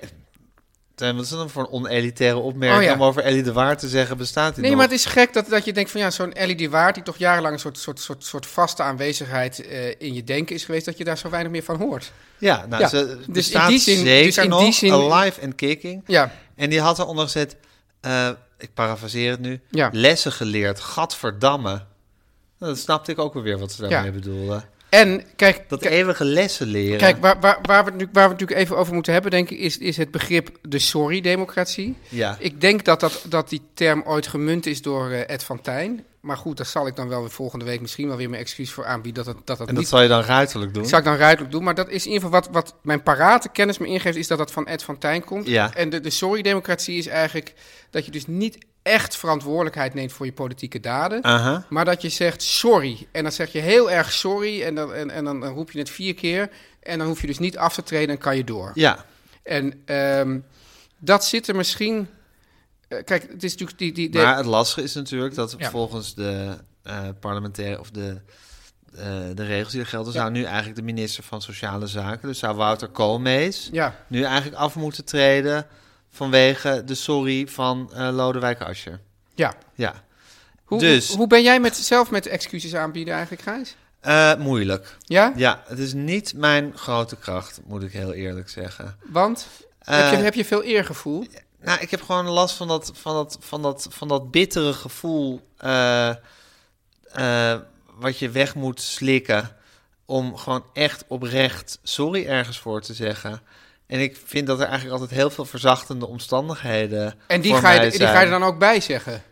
Tijn, wat is dat dan voor een onelitaire opmerking
Oh ja.
om over Ellie de Waard te zeggen? Bestaat die
Nee,
nog?
maar het is gek dat, dat je denkt van ja, zo'n Ellie de Waard... die toch jarenlang een soort, soort, soort, soort vaste aanwezigheid eh, in je denken is geweest... dat je daar zo weinig meer van hoort.
Ja, nou,
Ja,
ze
dus
bestaat
in die zin-
zeker
dus in
nog,
die zin-
alive and kicking.
Ja,
En die had eronder gezet, eh, ik parafraseer het nu,
Ja.
lessen geleerd, gadverdamme. Nou, dat snapte ik ook wel weer wat ze daarmee
Ja.
bedoelden.
en kijk...
Dat
kijk-
eeuwige lessen leren.
Kijk, waar, waar, waar, we het nu, waar we het natuurlijk even over moeten hebben, denk ik, is, is het begrip de sorry-democratie.
ja.
Ik denk dat, dat, dat die term ooit gemunt is door eh, Ed van Tijn. Maar goed, daar zal ik dan wel weer volgende week misschien wel weer mijn excuus voor aanbieden. Dat het, dat dat
en dat
niet
zal je dan ruiterlijk doen.
Dat zou ik dan ruidelijk doen. Maar dat is in ieder geval wat, wat mijn parate kennis me ingeeft, is dat dat van Ed van Tijn komt.
Ja.
En de, de sorry-democratie is eigenlijk dat je dus niet echt verantwoordelijkheid neemt voor je politieke daden.
Aha.
Maar dat je zegt sorry. En dan zeg je heel erg sorry. En dan, en, en dan dan roep je het vier keer. En dan hoef je dus niet af te treden en kan je door.
Ja,
En ehm, dat zit er misschien. eh, kijk, het is natuurlijk die. die, de-
maar het lastige is natuurlijk dat
Ja.
volgens de eh, parlementaire of de, eh, de regels die er gelden, zou nu eigenlijk de minister van Sociale Zaken, dus zou Wouter Koolmees,
ja,
nu eigenlijk af moeten treden vanwege de sorry van eh, Lodewijk Asscher.
ja.
Ja,
Hoe,
Dus-
hoe, hoe ben jij met, zelf met excuses aanbieden eigenlijk, Gijs?
Eh, moeilijk.
Ja?
Ja, het is niet mijn grote kracht, moet ik heel eerlijk zeggen.
Want?
Eh,
heb, je, heb je veel eergevoel?
Nou, ik heb gewoon last van dat, van dat, van dat, van dat bittere gevoel eh, eh, wat je weg moet slikken om gewoon echt oprecht sorry ergens voor te zeggen. En ik vind dat er eigenlijk altijd heel veel verzachtende omstandigheden
En die
voor
ga, je,
mij
die ga je er dan ook bij zeggen.
zijn.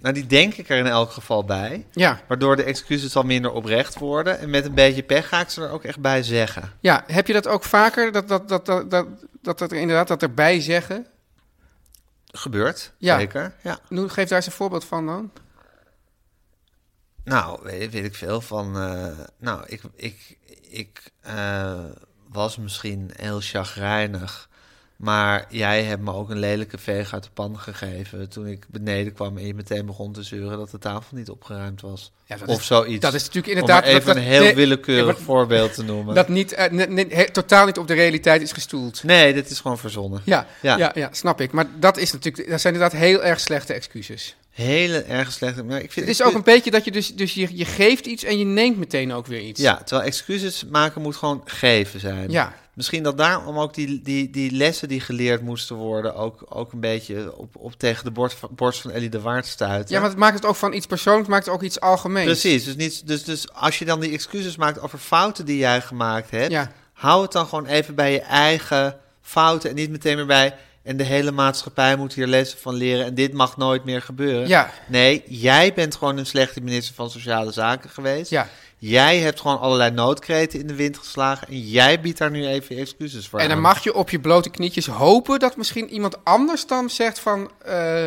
Nou, die denk ik er in elk geval bij.
Ja.
Waardoor de excuses al minder oprecht worden. En met een beetje pech ga ik ze er ook echt bij zeggen.
ja, heb je dat ook vaker? Dat, dat, dat, dat, dat, dat, dat er inderdaad dat erbij zeggen?
Gebeurt,
Ja.
zeker. Ja.
Noem- Geef daar eens een voorbeeld van dan.
Nou, weet, weet ik veel van. eh, nou, ik, ik, ik eh, was misschien heel chagrijnig. Maar jij hebt me ook een lelijke veeg uit de pan gegeven. toen ik beneden kwam en je meteen begon te zeuren dat de tafel niet opgeruimd was.
Ja, dat
of
is-
zoiets.
dat is natuurlijk
Om maar
inderdaad- dat-
even
dat-
een heel
nee,
willekeurig
ja, wat-
voorbeeld te noemen.
Dat niet, eh, ne- ne- he- totaal niet op de realiteit is gestoeld.
Nee, dit is gewoon verzonnen.
Ja,
Ja.
ja. Ja, snap ik. Maar dat, is natuurlijk, dat zijn inderdaad heel erg slechte excuses.
hele erg slecht. Maar ik vind,
Het is ook een beetje dat je dus, dus je, je geeft iets en je neemt meteen ook weer iets.
Ja, terwijl excuses maken moet gewoon geven zijn.
Ja.
Misschien dat daarom ook die, die, die lessen die geleerd moesten worden... ook, ook een beetje op, op tegen de borst van, borst van Ellie de Waard stuiten.
Ja, maar het maakt het ook van iets persoonlijks, maakt het ook iets algemeens.
Precies, dus, niet, dus, dus als je dan die excuses maakt over fouten die jij gemaakt hebt...
Ja.
hou het dan gewoon even bij je eigen fouten... en niet meteen meer bij... en de hele maatschappij moet hier lessen van leren... en dit mag nooit meer gebeuren.
Ja.
Nee, jij bent gewoon een slechte minister van Sociale Zaken geweest.
Ja.
Jij hebt gewoon allerlei noodkreten in de wind geslagen... en jij biedt daar nu even je excuses voor
En dan
aan.
mag je op je blote knietjes hopen dat misschien iemand anders dan zegt van... eh,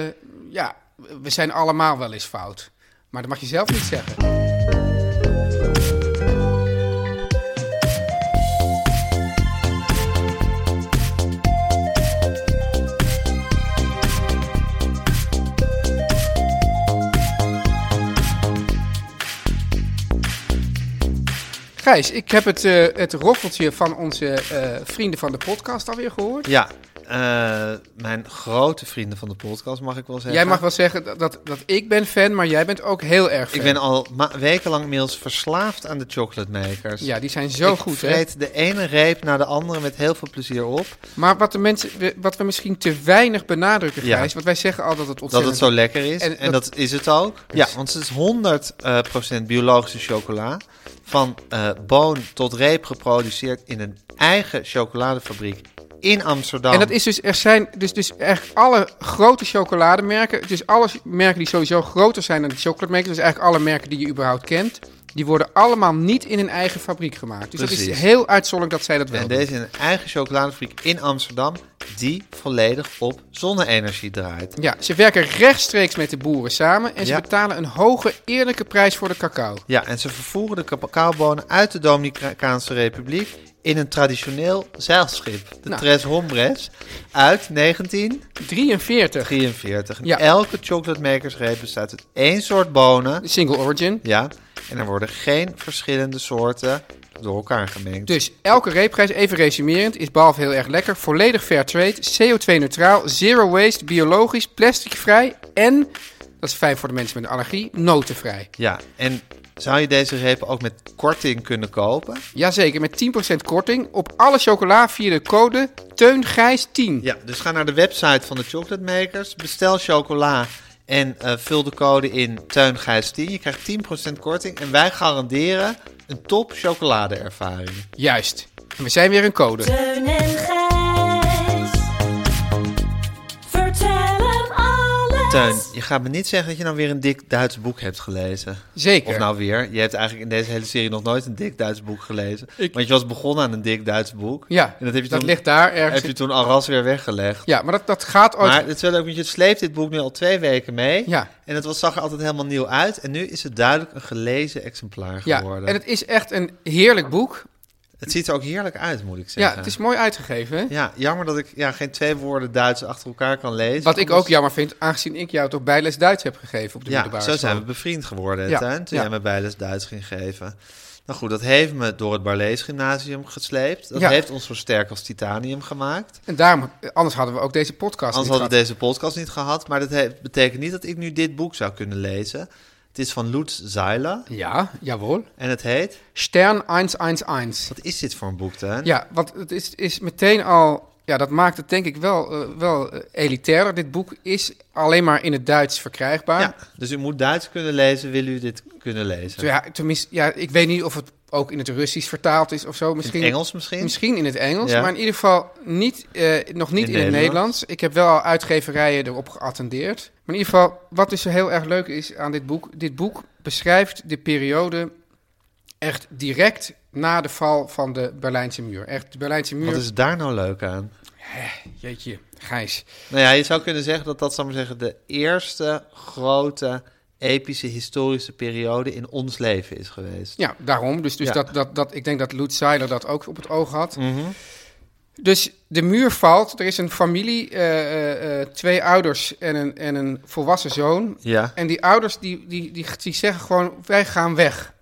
ja, we zijn allemaal wel eens fout. Maar dat mag je zelf niet zeggen. Gijs, ik heb het, eh, het roffeltje van onze eh, vrienden van de podcast alweer gehoord.
Ja, eh, mijn grote vrienden van de podcast mag ik wel zeggen.
Jij mag wel zeggen dat, dat, dat ik ben fan, maar jij bent ook heel erg fan.
Ik ben al ma- wekenlang inmiddels verslaafd aan de chocolate makers.
Ja, die zijn zo
ik
goed, hè?
vreet de ene reep naar de andere met heel veel plezier op.
Maar wat, de mensen, we- wat we misschien te weinig benadrukken,
Ja.
Gijs, want wij zeggen al dat het
Dat het
ontzettend...
zo lekker is.
En
En,
dat-
dat, is het ook. Ja, want het is 100% eh, procent biologische chocola. Van eh, boon tot reep geproduceerd in een eigen chocoladefabriek in Amsterdam.
En dat is dus, er zijn dus, dus echt alle grote chocolademerken, dus alle merken die sowieso groter zijn dan de chocolademerken, dus eigenlijk alle merken die je überhaupt kent, die worden allemaal niet in een eigen fabriek gemaakt. Dus dat is
Precies.
heel uitzonderlijk dat zij dat wel
En
doen.
deze in een eigen chocoladefabriek in Amsterdam, die volledig op zonne-energie draait.
Ja, ze werken rechtstreeks met de boeren samen en ze
Ja.
betalen een hoge eerlijke prijs voor de cacao.
Ja, en ze vervoeren de cacaobonen uit de Dominicaanse Republiek in een traditioneel zeilschip, de
Nou.
Tres Hombres, uit 1943.
43,
En
Ja.
Elke chocolatemakersreep bestaat uit één soort bonen
single origin.
Ja, en er worden geen verschillende soorten door elkaar gemengd.
Dus elke reepprijs, even resumerend, is behalve heel erg lekker, volledig fair trade, CO2-neutraal, zero waste, biologisch, plasticvrij en, dat is fijn voor de mensen met een allergie, notenvrij.
Ja, en zou je deze repen ook met korting kunnen kopen?
Jazeker, met 10% korting op alle chocola via de code TEUNGRIJS10.
Ja, dus ga naar de website van de Chocolate Makers, bestel chocola en eh, vul de code in TEUNGIJS10. Je krijgt 10% korting en wij garanderen een top chocoladeervaring.
Juist. En we zijn weer een code.
Teun en Gijs. Vertel hem alles.
Teun, je gaat me niet zeggen dat je nou weer een dik Duits boek hebt gelezen.
Zeker.
Of nou weer. Je hebt eigenlijk in deze hele serie nog nooit een dik Duits boek gelezen. Want je was begonnen aan een dik Duits boek.
Ja,
en dat, heb je
dat
toen-
ligt daar ergens.
Heb je toen al ras weer weggelegd.
Ja, maar dat, dat gaat ooit...
Maar het is wel leuk, want je sleept dit boek nu al twee weken mee.
Ja.
En het was, zag er altijd helemaal nieuw uit. En nu is het duidelijk een gelezen exemplaar
ja,
geworden.
en het is echt een heerlijk boek.
Het ziet er ook heerlijk uit, moet ik
Ja,
zeggen.
het is mooi uitgegeven. hè?
Ja, jammer dat ik ja, geen twee woorden Duits achter elkaar kan lezen.
Wat ik
Anders-
ook jammer vind, aangezien ik jou toch bijles Duits heb gegeven op de
Ja,
middelbare
zo zijn
school.
we bevriend geworden,
Ja,
ja. Tuin. Toen
ja.
jij me bijles Duits ging geven. Nou goed, dat heeft me door het Barlees Gymnasium gesleept. Dat
Ja.
heeft ons zo sterk als titanium gemaakt.
En daarom, anders hadden we ook deze podcast
Anders
niet
hadden we deze podcast niet gehad. Maar dat he- betekent niet dat ik nu dit boek zou kunnen lezen. Het is van Lutz Zeiler.
gehad. Ja, jawel.
En het heet...
Stern 111.
Wat is dit voor een boek, Tuin?
Ja, want het is, is meteen al... Ja, dat maakt het denk ik wel, eh, wel eh, elitairder. Dit boek is alleen maar in het Duits verkrijgbaar.
Ja, Dus u moet Duits kunnen lezen, wil u dit kunnen lezen?
Zo ja, tenminste, ja, ik weet niet of het ook in het Russisch vertaald is of zo. Misschien,
In het Engels misschien?
Misschien in het Engels,
Ja.
maar in ieder geval niet, eh, nog niet in,
In
het
Nederlands.
Nederlands. Ik heb wel al uitgeverijen erop geattendeerd. Maar in ieder geval, wat dus heel erg leuk is aan dit boek... dit boek beschrijft de periode echt direct na de val van de Berlijnse muur. Echt, de Berlijnse muur...
Wat is daar nou leuk aan?
Jeetje, Gijs.
Nou ja, je zou kunnen zeggen dat dat, zal ik maar zeggen, de eerste grote epische historische periode in ons leven is geweest.
Ja, daarom. Dus, dus
Ja. Mhm.
Dat, dat, dat, ik denk dat Lutz Seiler dat ook op het oog had. Dus de muur valt. Er is een familie, eh, eh, eh, twee ouders en een, en een volwassen zoon.
Ja.
En die ouders die, die, die, die zeggen gewoon, wij gaan weg.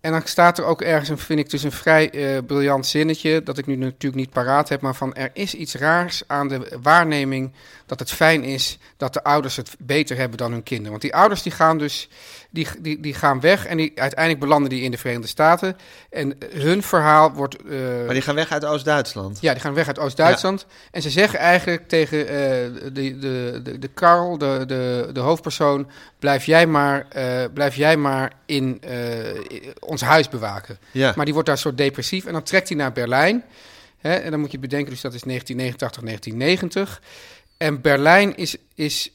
En dan staat er ook ergens, een, vind ik dus een vrij eh, briljant zinnetje, dat ik nu natuurlijk niet paraat heb, maar van er is iets raars aan de waarneming dat het fijn is dat de ouders het beter hebben dan hun kinderen. Want die ouders die gaan dus, die, die, die gaan weg en die, uiteindelijk belanden die in de Verenigde Staten. En hun verhaal wordt... eh,
Maar die gaan weg uit Oost-Duitsland.
ja, die gaan weg uit Oost-Duitsland. En ze zeggen eigenlijk tegen eh, de, de, de, de Karl, de, de, de hoofdpersoon, blijf jij maar, eh, blijf jij maar in eh, i- ons huis bewaken.
Ja.
Maar die wordt daar soort depressief en dan trekt hij naar Berlijn. Hè, en dan moet je bedenken, dus dat is 1989, 1990. En Berlijn is... is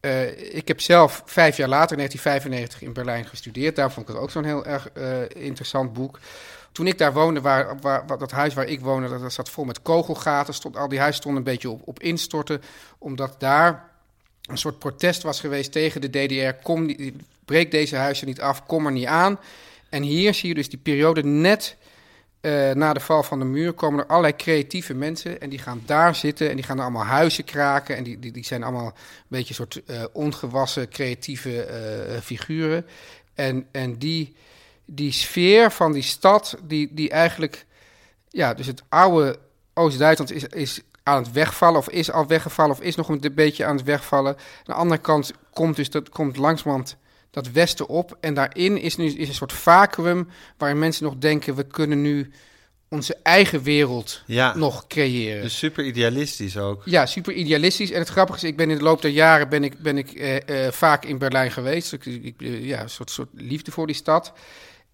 eh, ik heb zelf vijf jaar later, in 1995, in Berlijn gestudeerd. Daar vond ik het ook zo'n heel erg eh, interessant boek. Toen ik daar woonde, waar, waar, waar- dat huis waar ik woonde, dat, dat zat vol met kogelgaten. Stond, al die huizen stonden een beetje op, op instorten. Omdat daar een soort protest was geweest tegen de DDR. Kom, niet- breek deze huizen niet af, kom er niet aan. En hier zie je dus die periode net eh, na de val van de muur komen er allerlei creatieve mensen. En die gaan daar zitten en die gaan er allemaal huizen kraken. En die, die, die zijn allemaal een beetje een soort eh, ongewassen creatieve eh, figuren. En, en die, die sfeer van die stad, die, die eigenlijk... Ja, dus het oude Oost-Duitsland is, is aan het wegvallen of is al weggevallen of is nog een beetje aan het wegvallen. Aan de andere kant komt dus dat komt langzamerhand dat westen op en daarin is nu is een soort vacuüm waarin mensen nog denken we kunnen nu onze eigen wereld
Ja.
nog creëren.
Dus super idealistisch ook.
Ja, super idealistisch. En het grappige is, ik ben in de loop der jaren ben ik, ben ik eh, eh, vaak in Berlijn geweest. Ik, ik, eh, ja, een soort, soort liefde voor die stad.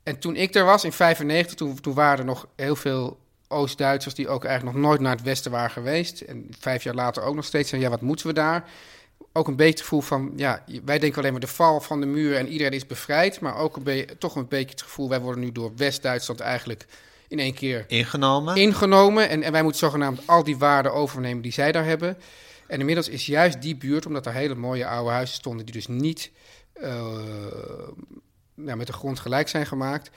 En toen ik er was, in 95, toen, toen waren er nog heel veel Oost-Duitsers... die ook eigenlijk nog nooit naar het Westen waren geweest. En vijf jaar later ook nog steeds zeggen, ja, wat moeten we daar? Ook een beetje het gevoel van, ja, je- wij denken alleen maar de val van de muur... en iedereen is bevrijd. Maar ook een be- toch een beetje het gevoel, wij worden nu door West-Duitsland eigenlijk... in één keer
Ingenomen.
ingenomen. En, en wij moeten zogenaamd al die waarden overnemen die zij daar hebben. En inmiddels is juist die buurt, omdat er hele mooie oude huizen stonden, die dus niet eh, nou, met de grond gelijk zijn gemaakt.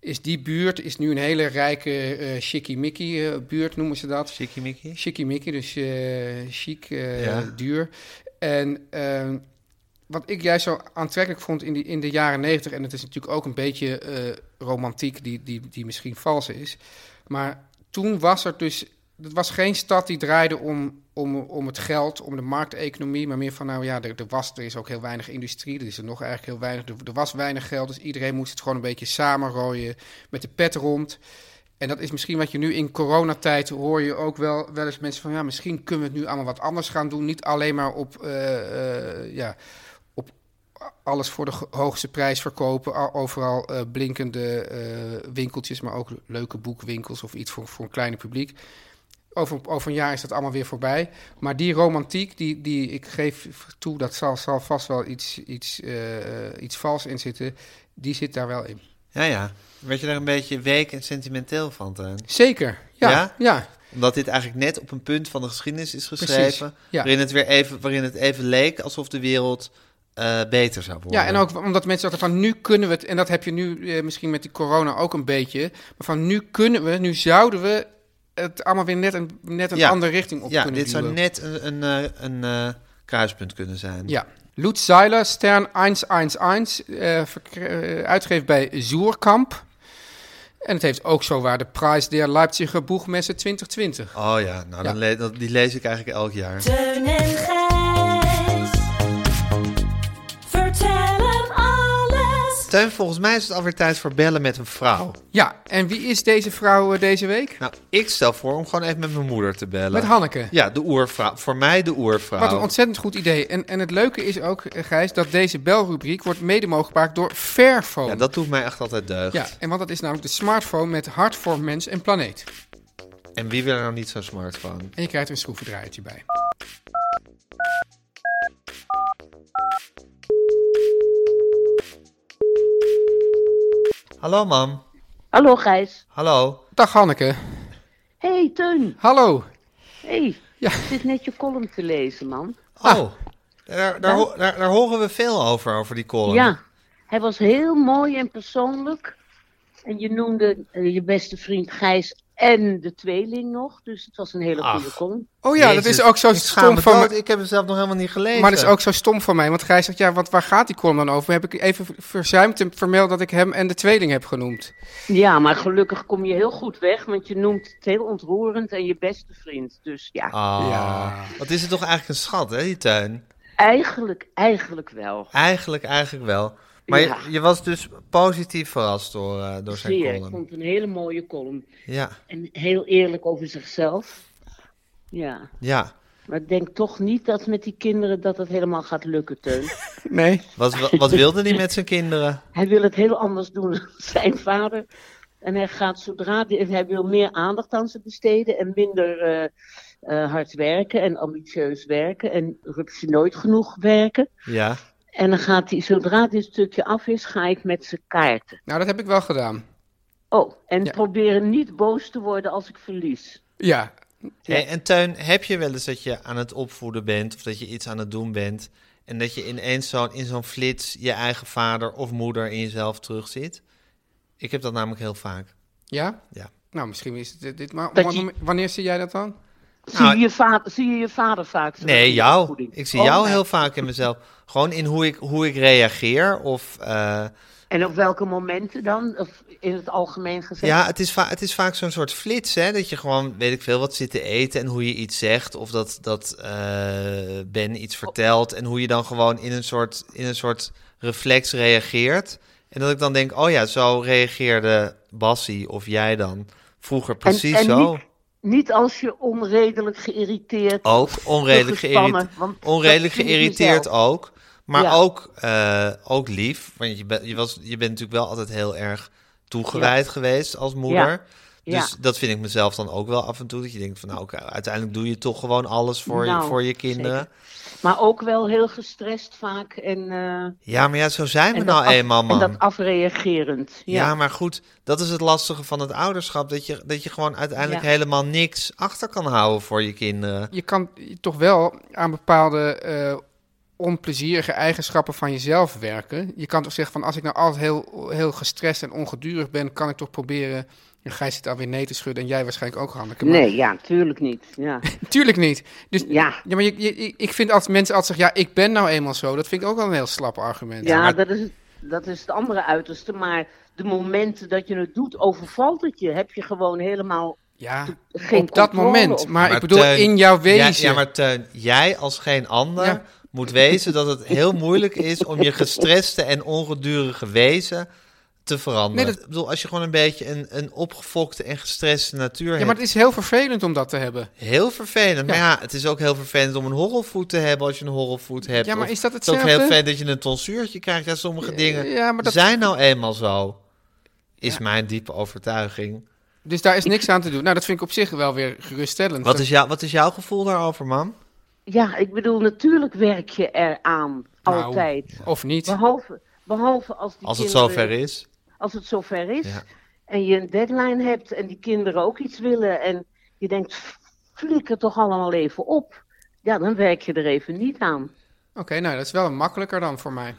Is die buurt is nu een hele rijke eh chicky-micky eh, buurt, noemen ze dat.
Chicky-micky.
Chicky-micky, dus eh chic, eh,
Ja.
duur. En ehm, wat ik juist zo aantrekkelijk vond in, die, in de jaren negentig... en het is natuurlijk ook een beetje eh, romantiek die, die, die misschien vals is... maar toen was er dus... Het was geen stad die draaide om, om, om het geld, om de markteconomie... maar meer van, nou ja, er, er was, er is ook heel weinig industrie... er is er nog eigenlijk heel weinig, er, er was weinig geld... dus iedereen moest het gewoon een beetje samenrooien met de pet rond... En dat is misschien wat je nu in coronatijd hoor je ook wel, wel eens mensen van ja, misschien kunnen we het nu allemaal wat anders gaan doen. Niet alleen maar op, eh, eh, ja, op alles voor de ge- hoogste prijs verkopen. Al- Overal eh, blinkende eh, winkeltjes, maar ook leuke boekwinkels of iets voor, voor een kleine publiek. Over, over een jaar is dat allemaal weer voorbij. Maar die romantiek, die, die ik geef toe, dat zal, zal vast wel iets, iets, eh, iets vals in zitten. Die zit daar wel in.
Ja, ja. Werd je daar een beetje week en sentimenteel van, Teun?
Zeker.
Ja?
ja? ja.
Omdat dit eigenlijk net op een punt van de geschiedenis is
Precies,
geschreven...
ja.
waarin, het weer even, waarin het even leek alsof de wereld eh, beter zou worden.
Ja, en ook omdat mensen dachten van nu kunnen we het, en dat heb je nu eh, misschien met die corona ook een beetje, maar van nu kunnen we, nu zouden we het allemaal weer net een, net een
Ja.
andere richting op
Ja,
kunnen
dit zou
duwen.
net een, een, eh, een eh, kruispunt kunnen zijn.
Ja. Loet Seiler, Stern 111, eh, verk- eh, uitgegeven bij Zoerkamp. En het heeft ook zo waar de prijs der Leipziger Boegmessen 2020.
Oh ja, nou, Dan
Ja.
le- dat- die lees ik eigenlijk elk jaar.
Teun en Gijs. Vertel hem alles.
Teun, volgens mij is het alweer tijd voor bellen met een vrouw.
Ja, en wie is deze vrouw eh, deze week?
Nou, ik stel voor om gewoon even met mijn moeder te bellen.
Met Hanneke.
Ja, de oervrouw. Voor mij de oervrouw.
Wat een ontzettend goed idee. En, en het leuke is ook, eh, Gijs, dat deze belrubriek wordt mede mogelijk gemaakt door Fairphone.
Ja, dat doet mij echt altijd deugd.
Ja, en want dat is namelijk de smartphone met hart voor mens en planeet.
En wie wil er nou niet zo'n smartphone?
En je krijgt er een schroevendraaiertje bij.
Hallo, mam.
Hallo Gijs.
Hallo.
Dag Hanneke.
Hey Teun.
Hallo.
Hey.
Ja.
Ik zit net je column te lezen, man.
Oh, daar, daar, ho- daar, Oh. daar horen we veel over, over die column.
Ja. Hij was heel mooi en persoonlijk. En je noemde eh, je beste vriend Gijs en de tweeling nog. Dus het was een hele goede
Ach.
column.
Oh ja, dat is
Jezus,
ook zo
ik schaam
stom
me
van
dood.
me.
Ik heb het zelf nog helemaal niet gelezen.
Maar dat is ook zo stom van mij. Want Gijs zegt, ja, wat, waar gaat die column dan over? Heb ik even verzuimd te vermelden dat ik hem en de tweeling heb genoemd.
Ja, maar gelukkig kom je heel goed weg, want je noemt het heel ontroerend en je beste vriend. Dus ja,
Ah,
Ja.
Wat is het toch eigenlijk een schat, hè, die tuin?
eigenlijk, eigenlijk wel.
Eigenlijk, eigenlijk wel. Maar
Ja.
je, je was dus positief verrast door, eh, door zijn
Zeer, ik
column.
vond het een hele mooie column.
Ja,
En heel eerlijk over zichzelf. Ja,
ja.
maar ik denk toch niet dat met die kinderen dat het helemaal gaat lukken, Teun.
Nee.
Wat, wat, wat wilde hij met zijn kinderen?
Hij wil het heel anders doen dan zijn vader. En hij gaat zodra die- hij wil meer aandacht aan ze besteden en minder eh, eh, hard werken en ambitieus werken en rupsje nooit genoeg werken.
Ja.
En dan gaat hij, zodra dit stukje af is, ga ik met ze kaarten.
Nou, dat heb ik wel gedaan.
Oh, en
Ja.
proberen niet boos te worden als ik verlies.
Ja.
Hey, en Tuin, heb je wel eens dat je aan het opvoeden bent of dat je iets aan het doen bent en dat je ineens zo, in zo'n flits je eigen vader of moeder in jezelf terugzit? Ik heb dat namelijk heel vaak.
Ja?
Ja.
Nou, misschien is dit... dit maar
Dat je-
wanneer zie jij dat dan?
Zie,
Nou,
je, je vader, zie je je vader vaak? terug in
Nee,
de
jou.
opvoeding?
Ik zie
Oh,
jou
nee.
heel vaak in mezelf. Gewoon in hoe ik, hoe ik reageer. Of, eh,
En op welke momenten dan? Of in het algemeen gezegd?
ja, het is, va- het is vaak zo'n soort flits, hè? Dat je gewoon, weet ik veel, wat zit te eten en hoe je iets zegt. Of dat, dat eh, Ben iets vertelt. En hoe je dan gewoon in een, soort, in een soort reflex reageert. En dat ik dan denk, oh ja, zo reageerde Bassie of jij dan vroeger precies
en
zo.
niet- Niet als je onredelijk geïrriteerd
Ook onredelijk
gespannen,
geïrriteerd.
want dat
Onredelijk
vind ik
geïrriteerd
mezelf.
ook. Maar
Ja.
ook, eh, ook lief. Want je, ben- je, was, je bent natuurlijk wel altijd heel erg toegewijd geweest als moeder.
Ja.
Dus dat vind ik mezelf dan ook wel af en toe. Dat je denkt van nou, oké, uiteindelijk doe je toch gewoon alles voor,
Nou,
je, voor je kinderen.
Maar ook wel heel gestrest vaak en, eh,
Ja, maar ja, zo zijn we
en, dat
nou
af-
eenmaal, man.
en dat afreagerend.
ja. maar goed, dat is het lastige van het ouderschap. Dat je, dat je gewoon uiteindelijk
Ja.
helemaal niks achter kan houden voor je kinderen.
Je kan toch wel aan bepaalde eh, onplezierige eigenschappen van jezelf werken. Je kan toch zeggen van, als ik nou altijd heel, heel gestrest en ongedurig ben, kan ik toch proberen... Ja, Gijs zit alweer nee te schudden en jij waarschijnlijk ook, Hanneke. maar-
Nee, ja, natuurlijk niet. Ja.
Tuurlijk niet. Dus
Ja.
Ja, maar je, je- ik- ik vind als mensen altijd zeggen, ja, ik ben nou eenmaal zo. Dat vind ik ook al een heel slap argument.
Ja,
maar-
dat, is, dat is het andere uiterste. Maar de momenten dat je het doet, overvalt het je. Heb je gewoon helemaal
Ja,
geen
op dat
controle
moment.
op.
Maar, ik bedoel,
Teun,
in jouw
jij-
wezen.
eh, Ja, maar Teun, jij als geen ander
Ja.
moet wezen dat het heel moeilijk is om je gestreste en ongedurige wezen te veranderen.
Nee, dat-
Ik bedoel, als je gewoon een beetje een, een opgefokte en gestreste natuur
Ja,
hebt,
maar het is heel vervelend om dat te hebben.
heel vervelend. Maar
Ja.
ja, het is ook heel vervelend om een horrelvoet te hebben als je een horrelvoet hebt.
Ja, maar
Of
is dat
Het is ook heel
hetzelfde?
vervelend dat je een tonsuurtje krijgt. Ja, sommige dingen
Ja, maar dat-
zijn nou eenmaal zo, is mijn diepe overtuiging.
Dus daar is niks aan te doen. Nou, dat vind ik op zich wel weer geruststellend.
Wat is, jou, wat is jouw gevoel daarover, man?
Ja, ik bedoel, natuurlijk werk je eraan.
Nou,
Altijd.
Of niet.
Behalve, behalve als, die
Als het
kinderen-
zover is.
Als het zover is.
Ja.
En je een deadline hebt en die kinderen ook iets willen. En je denkt, flikker toch allemaal even op. Ja, dan werk je er even niet aan.
Oké, nou, dat is wel makkelijker dan voor mij.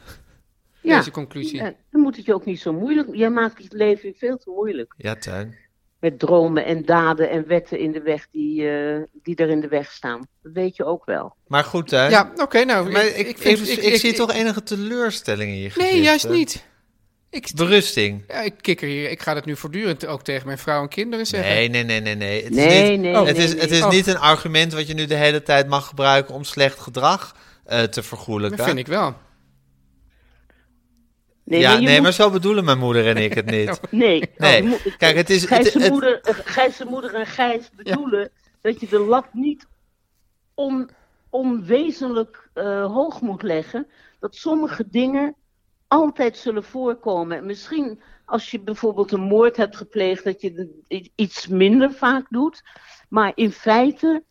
Ja.
Deze conclusie.
Ja, dan moet het je ook niet zo moeilijk. Jij maakt het leven veel te moeilijk.
Ja, Teun.
Met dromen en daden en wetten in de weg die, eh, die er in de weg staan. Dat weet je ook wel.
Maar goed, Teun.
Ja, oké, nou.
Maar ik, ik,
vind-
ik, zie toch enige teleurstelling in je gezicht.
Nee, juist
hè?
niet. Ik,
Berusting.
ja, ik kikker hier. Ik ga dat nu voortdurend ook tegen mijn vrouw en kinderen zeggen.
Nee, nee, nee, nee, nee. Het is
Nee,
niet,
nee,
het
nee,
is, het
nee.
is
Oh.
niet een argument wat je nu de hele tijd mag gebruiken om slecht gedrag eh, te
dat
vergoelijken.
vind ik wel.
Nee,
ja,
maar je
nee,
moet-
maar zo bedoelen mijn moeder en ik het
Oh.
niet.
Nee,
Nee,
je moet-
kijk, het is-
Gijs'
het- het-
moeder, eh, Gijs' moeder en Gijs bedoelen dat je de lat niet on, onwezenlijk eh, hoog moet leggen. Dat sommige dingen altijd zullen voorkomen. En Misschien als je bijvoorbeeld een moord hebt gepleegd, dat je de- i- iets minder vaak doet. Maar in feite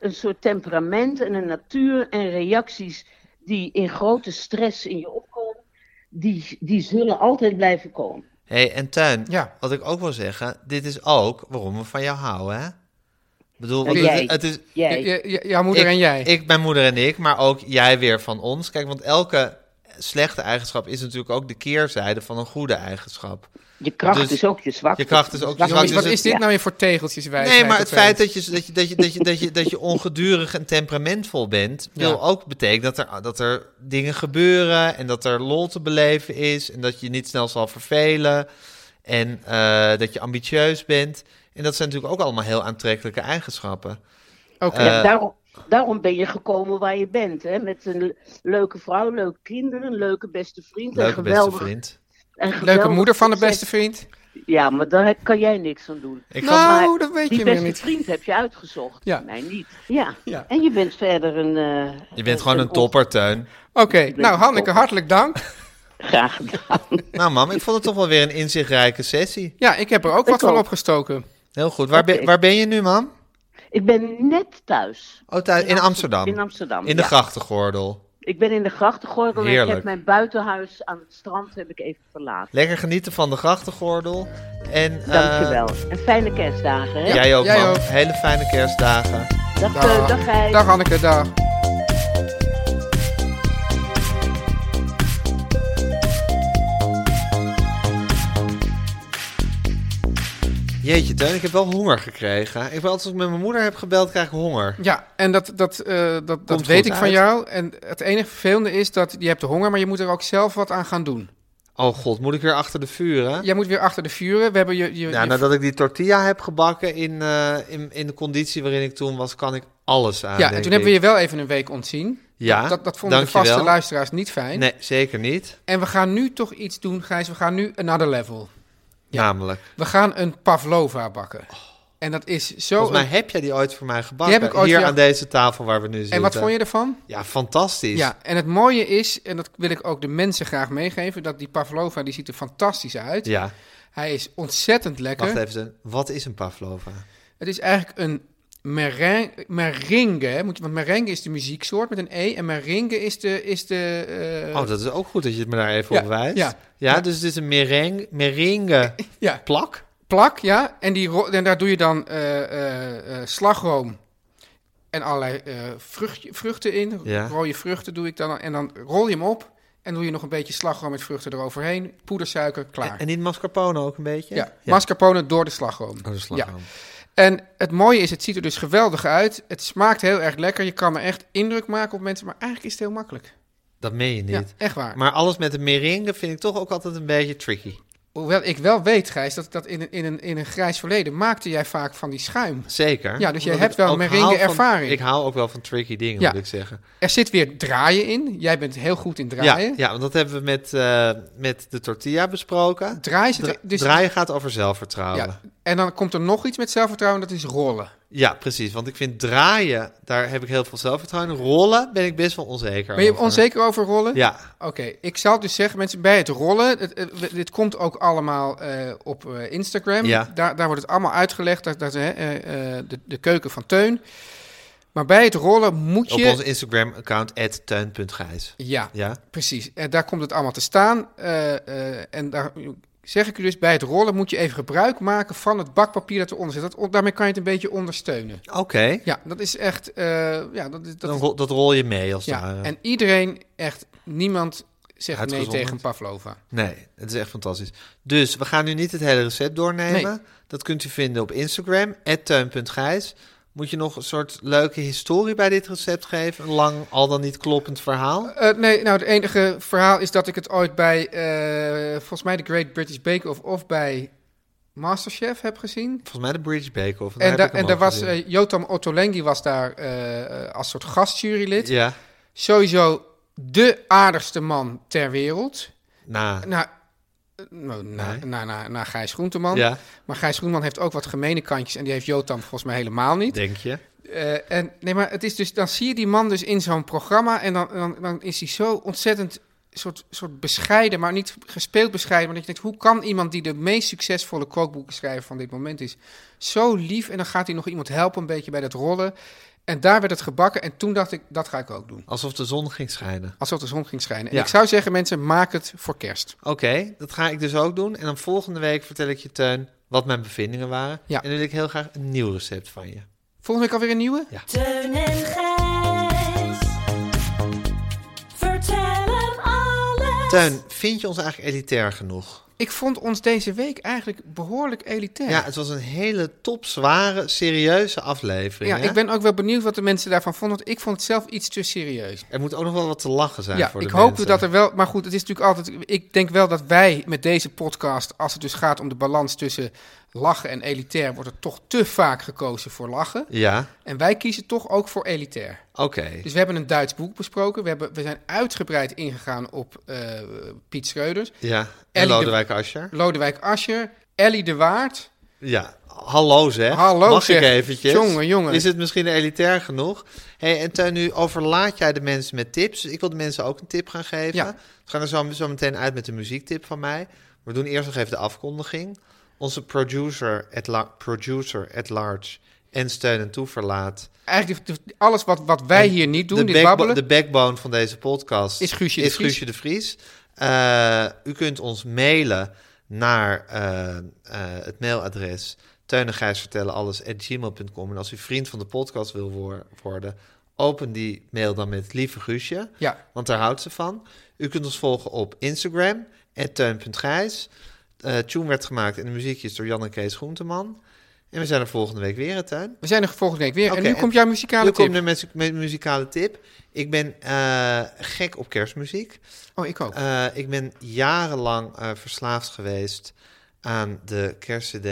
een soort temperament en een natuur en reacties die in grote stress in je opkomen, die, die zullen altijd blijven komen.
hey, en Tuin,
Ja.
wat ik ook wil zeggen, dit is ook waarom we van jou houden, hè? Ik bedoel,
En
want
jij.
het, het is,
Jij.
Je- je- jouw moeder
ik,
en jij.
Ik, mijn moeder en ik, maar ook jij weer van ons. Kijk, want elke, slechte eigenschap is natuurlijk ook de keerzijde van een goede eigenschap.
Je kracht
Dus-
is ook je zwakte.
je kracht is ook je
Zwakte
zwakte.
Jongens,
dus
wat
het-
is dit
Ja.
nou weer voor tegeltjeswijsheid?
Nee, maar het
opeens?
feit dat je, dat, je, dat, je, dat, je, dat, je, dat je ongedurig en temperamentvol bent,
Ja.
wil ook betekenen dat er, dat er dingen gebeuren en dat er lol te beleven is en dat je niet snel zal vervelen en eh, dat je ambitieus bent. En dat zijn natuurlijk ook allemaal heel aantrekkelijke eigenschappen.
Oké,
Ja,
Eh,
daarom, daarom ben je gekomen waar je bent. Hè? Met een le- leuke vrouw, leuke kinderen, een leuke beste vriend. en
Leuke
geweldig,
beste vriend.
en geweldig
leuke moeder van de
succes.
beste vriend.
Ja, maar daar heb- kan jij niks aan doen.
Ik had-
Nou,
Maar
dat weet
Die
je weer
beste
niet.
vriend heb je uitgezocht.
Ja.
Mij niet. Ja.
Ja.
En je bent verder een... eh,
je bent gewoon een topper, Teun.
Oké, nou Hanneke, hartelijk dank.
Graag gedaan.
Nou, mam, ik vond het toch wel weer een inzichtrijke sessie.
Ja, ik heb er ook wat van
ook.
opgestoken.
Heel goed. Waar, ben,
Oké.
waar ben je nu, mam?
Ik ben net thuis.
Oh, thuis, in Amsterdam.
In Amsterdam.
In de
ja.
grachtengordel.
Ik ben in de grachtengordel en ik
Heerlijk.
heb mijn buitenhuis aan het strand heb ik even verlaten.
Lekker genieten van de grachtengordel. En, eh,
Dankjewel. En fijne kerstdagen. Hè?
Jij ook,
Jij
man.
ook.
Hele fijne kerstdagen.
Dag, Teun, Eh, dag Gijs.
dag Hanneke, dag.
Jeetje, Teun, ik heb wel honger gekregen. Ik ben altijd als ik met mijn moeder heb gebeld, krijg ik honger.
Ja, en dat, dat, eh, dat, dat
Komt
weet
goed
ik van
uit.
jou. En het enige vervelende is dat je hebt de honger, maar je moet er ook zelf wat aan gaan doen.
Oh god, moet ik weer achter de vuren? Ja,
Jij moet weer achter de vuren. We hebben je, je, je-
nadat ik die tortilla heb gebakken in, eh, in, in de conditie waarin ik toen was, kan ik alles aan.
ja, en
denk
toen hebben we
ik.
je wel even een week ontzien.
Ja,
dat, dat vonden de
dankjewel.
vaste luisteraars niet fijn.
Nee, zeker niet.
En we gaan nu toch iets doen, Gijs. We gaan nu another level.
Namelijk.
We gaan een pavlova bakken. En dat is zo...
Oh. Volgens mij
een-
heb jij die ooit voor mij gebakken.
heb ik ooit
Hier
voor jou-
aan deze tafel waar we nu zitten.
En wat vond je ervan?
Ja, fantastisch.
Ja, en het mooie is, en dat wil ik ook de mensen graag meegeven, dat die pavlova, die ziet er fantastisch uit.
Ja,
Hij is ontzettend lekker.
wacht even. Wat is een pavlova?
Het is eigenlijk een meren- merengue. hè, Moet je, want merengue is de muzieksoort met een E. En merengue is de... Is de eh,
Oh, dat is ook goed dat je het me daar even
Ja,
op wijst.
ja.
Ja, dus het is een meringue, meringue
ja,
plak.
plak, ja. En, die ro- en daar doe je dan eh, eh, eh, slagroom en allerlei eh, vruchtje- vruchten in.
Ja.
Rode vruchten doe ik dan. En dan rol je hem op en doe je nog een beetje slagroom met vruchten eroverheen. Poedersuiker, klaar.
En niet mascarpone ook een beetje?
ja, mascarpone door de slagroom.
Oh, de slagroom.
Ja. En het mooie is, het ziet er dus geweldig uit. Het smaakt heel erg lekker. Je kan er echt indruk maken op mensen. Maar eigenlijk is het heel makkelijk.
Dat meen je niet.
Ja, echt waar.
Maar alles met een meringue vind ik toch ook altijd een beetje tricky.
Hoewel ik wel weet, Gijs, dat, dat in, een, in, een, in een grijs verleden maakte jij vaak van die schuim.
Zeker.
Ja, dus jij
Omdat
hebt
ik
wel
ook
meringue
hou van-
ervaring.
Ik hou ook wel van tricky dingen,
Ja.
moet ik zeggen.
Er zit weer draaien in. Jij bent heel goed in
Ja,
draaien.
ja, want dat hebben we met, eh, met de tortilla besproken.
Draaien zit
Dra-
er- dus,
Draaien gaat over zelfvertrouwen.
ja.
Ja.
En dan komt er nog iets met zelfvertrouwen, dat is rollen.
precies. Want ik vind draaien, daar heb ik heel veel zelfvertrouwen. in. Rollen ben ik best wel onzeker
Ben je
over.
onzeker over rollen?
Ja,
Oké, ik zou dus zeggen, mensen, bij het rollen, het, eh, we- dit komt ook allemaal eh, op eh, Instagram.
Ja.
Daar, daar wordt het allemaal uitgelegd, dat, dat, eh, eh, eh, de, de keuken van Teun. Maar bij het rollen moet
op
je...
ons Instagram-account, teun.gijs.
Ja,
Ja,
preprecies. En Eh, daar komt het allemaal te staan. Eh, eh, en daar zeg ik u dus, bij het rollen moet je even gebruik maken van het bakpapier dat eronder zit. Dat, on- daarmee kan je het een beetje ondersteunen.
oké.
Ja, dat is echt... eh, ja, dat, is- dat
Dan
is-
rol- dat rol je mee als eh, het
ja.
ware.
En iedereen, echt niemand zegt nee
Uitgezonderd.
tegen Pavlova.
Nee, het is echt fantastisch. Dus we gaan nu niet het hele recept doornemen.
Nee.
Dat kunt u vinden op Instagram, tuin.gijs. Moet je nog een soort leuke historie bij dit recept geven? Een lang, al dan niet kloppend verhaal?
Eh, nee, nou, het enige verhaal is dat ik het ooit bij, eh, volgens mij, de Great British Bake Off of bij Masterchef heb gezien.
Volgens mij de British Bake Off.
En,
heb
daar
ik hem
en daar
al
was
gezien.
eh, Jotam Ottolenghi was daar eh, eh, als soort gastjurylid.
Ja,
Sowieso de aardigste man ter wereld.
na.
Nou, eh, nou, na,
Nee.
na, na, na Gijs Groenteman.
Ja,
Maar Gijs Groenteman heeft ook wat gemene kantjes en die heeft Jotam volgens mij helemaal niet.
denk je.
Eh, en, nee, maar het is dus, dan zie je die man dus in zo'n programma en dan, dan, dan is hij zo ontzettend soort, soort bescheiden, maar niet gespeeld bescheiden. Maar dat je denkt, hoe kan iemand die de meest succesvolle kookboekenschrijver van dit moment is, zo lief en dan gaat hij nog iemand helpen een beetje bij dat rollen. En daar werd het gebakken en toen dacht ik, dat ga ik ook doen.
Alsof de zon ging schijnen.
Alsof de zon ging schijnen. En
Ja.
ik zou zeggen, mensen, maak het voor kerst.
Oké, dat ga ik dus ook doen. En dan volgende week vertel ik je, Teun, wat mijn bevindingen waren.
Ja.
En dan wil ik heel graag een nieuw recept van je.
Volgende week alweer een nieuwe?
Teun en Gijs. Vertel hem alles.
Teun, vind je ons eigenlijk elitair genoeg?
Ik vond ons deze week eigenlijk behoorlijk elitair.
Ja, het was een hele topzware, serieuze aflevering.
Ja,
hè?
ik ben ook wel benieuwd wat de mensen daarvan vonden. Want ik vond het zelf iets te serieus.
Er moet ook nog wel wat te lachen zijn
Ja,
Nou, voor de
ik hoop
mensen.
dat er wel. Maar goed, het is natuurlijk altijd. Ik denk wel dat wij met deze podcast, als het dus gaat om de balans tussen lachen en elitair, wordt er toch te vaak gekozen voor lachen.
Ja,
En wij kiezen toch ook voor elitair.
oké.
Dus we hebben een Duits boek besproken. We, hebben, we zijn uitgebreid ingegaan op eh, Piet Schreuders,
Ja, en
Ellie de-
Lodewijk Asscher.
Lodewijk Asscher, Ellie de Waard.
Ja, hallo zeg.
Hallo
Mag
zeg.
ik eventjes?
Jongen, jongen.
Is het misschien elitair genoeg? Hey, en Teun, nu overlaat jij de mensen met tips. Ik wil de mensen ook een tip gaan geven.
Ja.
We gaan er zo, zo meteen uit met de muziektip van mij. We doen eerst nog even de afkondiging. Onze producer at, la- producer at large en steun en toeverlaat.
Eigenlijk de- de- alles wat, wat wij hier niet doen,
de,
dit
backbo-
babbelen.
de backbone van deze podcast
Is Guusje de Vries.
Guusje de Vries. Eh, u kunt ons mailen naar eh, eh, het mailadres teunengijsvertellenalles.gmail.com. En als u vriend van de podcast wil woor- worden, open die mail dan met lieve Guusje.
Ja.
Want daar houdt ze van. U kunt ons volgen op Instagram, teun.gijs. Eh tune werd gemaakt en de muziekjes door Jan en Kees Groenteman. En we zijn er volgende week weer, hè, Teun?
We zijn er volgende week weer.
Oké,
en nu komt jouw muzikale
nu
tip.
komt de muzi- mu- muzikale tip. Ik ben eh, gek op kerstmuziek.
Oh, ik ook.
Eh, ik ben jarenlang eh, verslaafd geweest aan de kerstcd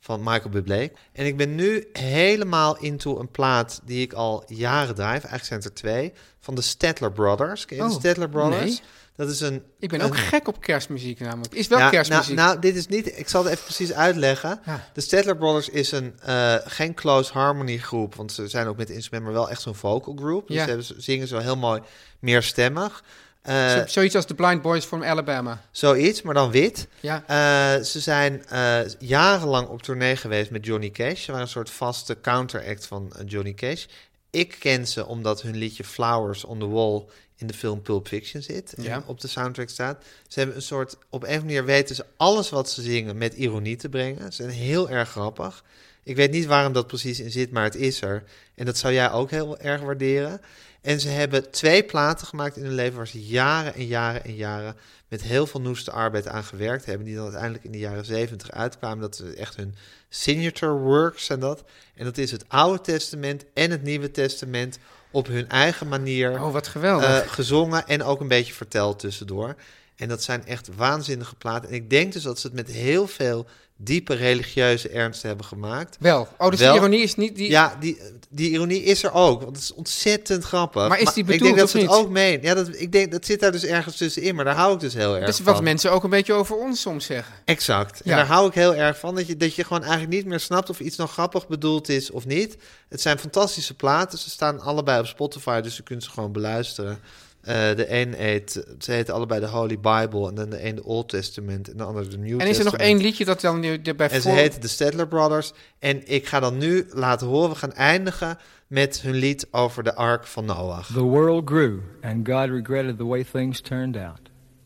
van Michael Bublé. En ik ben nu helemaal into een plaat die ik al jaren draai. Eigenlijk zijn het er twee. Van de Stedtler Brothers. Ken je de
Oh,
Stedtler Brothers?
nee.
Dat is een...
ik ben ook
een-
gek op kerstmuziek namelijk. Het Is wel
eh. ja,
kerstmuziek.
Nou, nou, dit is niet... Ik zal het even precies uitleggen.
Ja.
De Stedtler Brothers is een, eh, geen close harmony groep. Want ze zijn ook met instrumenten, maar wel echt zo'n vocal group. Dus
Ja.
ze hebben- ze zingen zo heel mooi meerstemmig. Eh,
Zo- Zoiets als de Blind Boys from Alabama.
zoiets, maar dan wit.
Ja.
Eh, ze zijn eh, jarenlang op tournee geweest met Johnny Cash. Ze waren een soort vaste counteract van eh, Johnny Cash. Ik ken ze omdat hun liedje Flowers on the Wall in de film Pulp Fiction zit. en
Ja.
op de soundtrack staat. Ze hebben een soort, op een of andere manier weten ze alles wat ze zingen met ironie te brengen. Ze zijn heel erg grappig. Ik weet niet waarom dat precies in zit, maar het is er. En dat zou jij ook heel erg waarderen. En ze hebben twee platen gemaakt in hun leven waar ze jaren en jaren en jaren met heel veel noeste arbeid aan gewerkt hebben. Die dan uiteindelijk in de jaren zeventig uitkwamen. Dat is echt hun signature works en dat. En dat is het Oude Testament en het Nieuwe Testament op hun eigen manier
Oh, wat geweldig.
eh, gezongen en ook een beetje verteld tussendoor. En dat zijn echt waanzinnige platen. En ik denk dus dat ze het met heel veel diepe religieuze ernst hebben gemaakt.
wel. Oh, dus
wel.
de ironie is niet... Die,
Ja, die, die ironie is er ook, want het is ontzettend grappig.
Maar is die
Ik denk
bedoeld
dat
of
ze het
niet?
ook meen. Ja, dat, ik denk, dat zit daar dus ergens tussenin, maar daar hou ik dus heel erg
dat is
van.
wat mensen ook een beetje over ons soms zeggen.
Exact. En
Ja.
daar hou ik heel erg van. Dat je, dat je gewoon eigenlijk niet meer snapt of iets nog grappig bedoeld is of niet. Het zijn fantastische platen. Ze staan allebei op Spotify, dus je kunt ze gewoon beluisteren. Eh, de een heet, ze heten allebei de Holy Bible. En dan de een de Old Testament en de ander de New Testament.
En is er nog één liedje dat dan nu de- bij
En ze
voor-
heten de Stedtler Brothers. En ik ga dan nu laten horen, we gaan eindigen met hun lied over de Ark van Noach.
The world grew, and God regretted the way things turned out.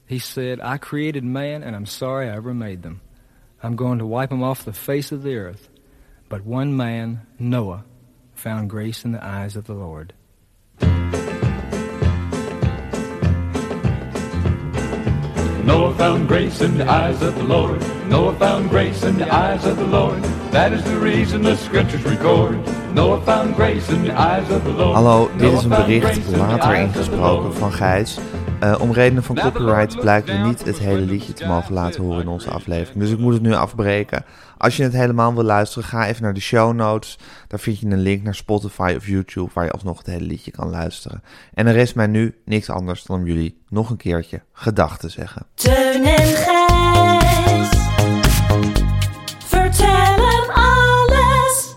He said, I created man, and I'm sorry I ever made them. I'm going to wipe them off the face of the earth. But one man, Noah, found grace in the eyes of the Lord.
Noah found grace in the eyes of the Lord. Noah found grace in the eyes of the Lord. That is the reason the scriptures record. Noah found grace in the eyes of the Lord.
Hallo, dit
Noah
is een
found
bericht
grace in the
later
eyes of the
ingesproken
Lord.
van Gijs. Eh, om redenen van copyright blijkt me niet het hele liedje te mogen laten horen in onze aflevering. Dus ik moet het nu afbreken. Als je het helemaal wil luisteren, ga even naar de show notes. Daar vind je een link naar Spotify of YouTube waar je alsnog het hele liedje kan luisteren. En er rest mij nu niks anders dan om jullie nog een keertje gedag te zeggen.
Teun en Gijs. Vertel hem alles.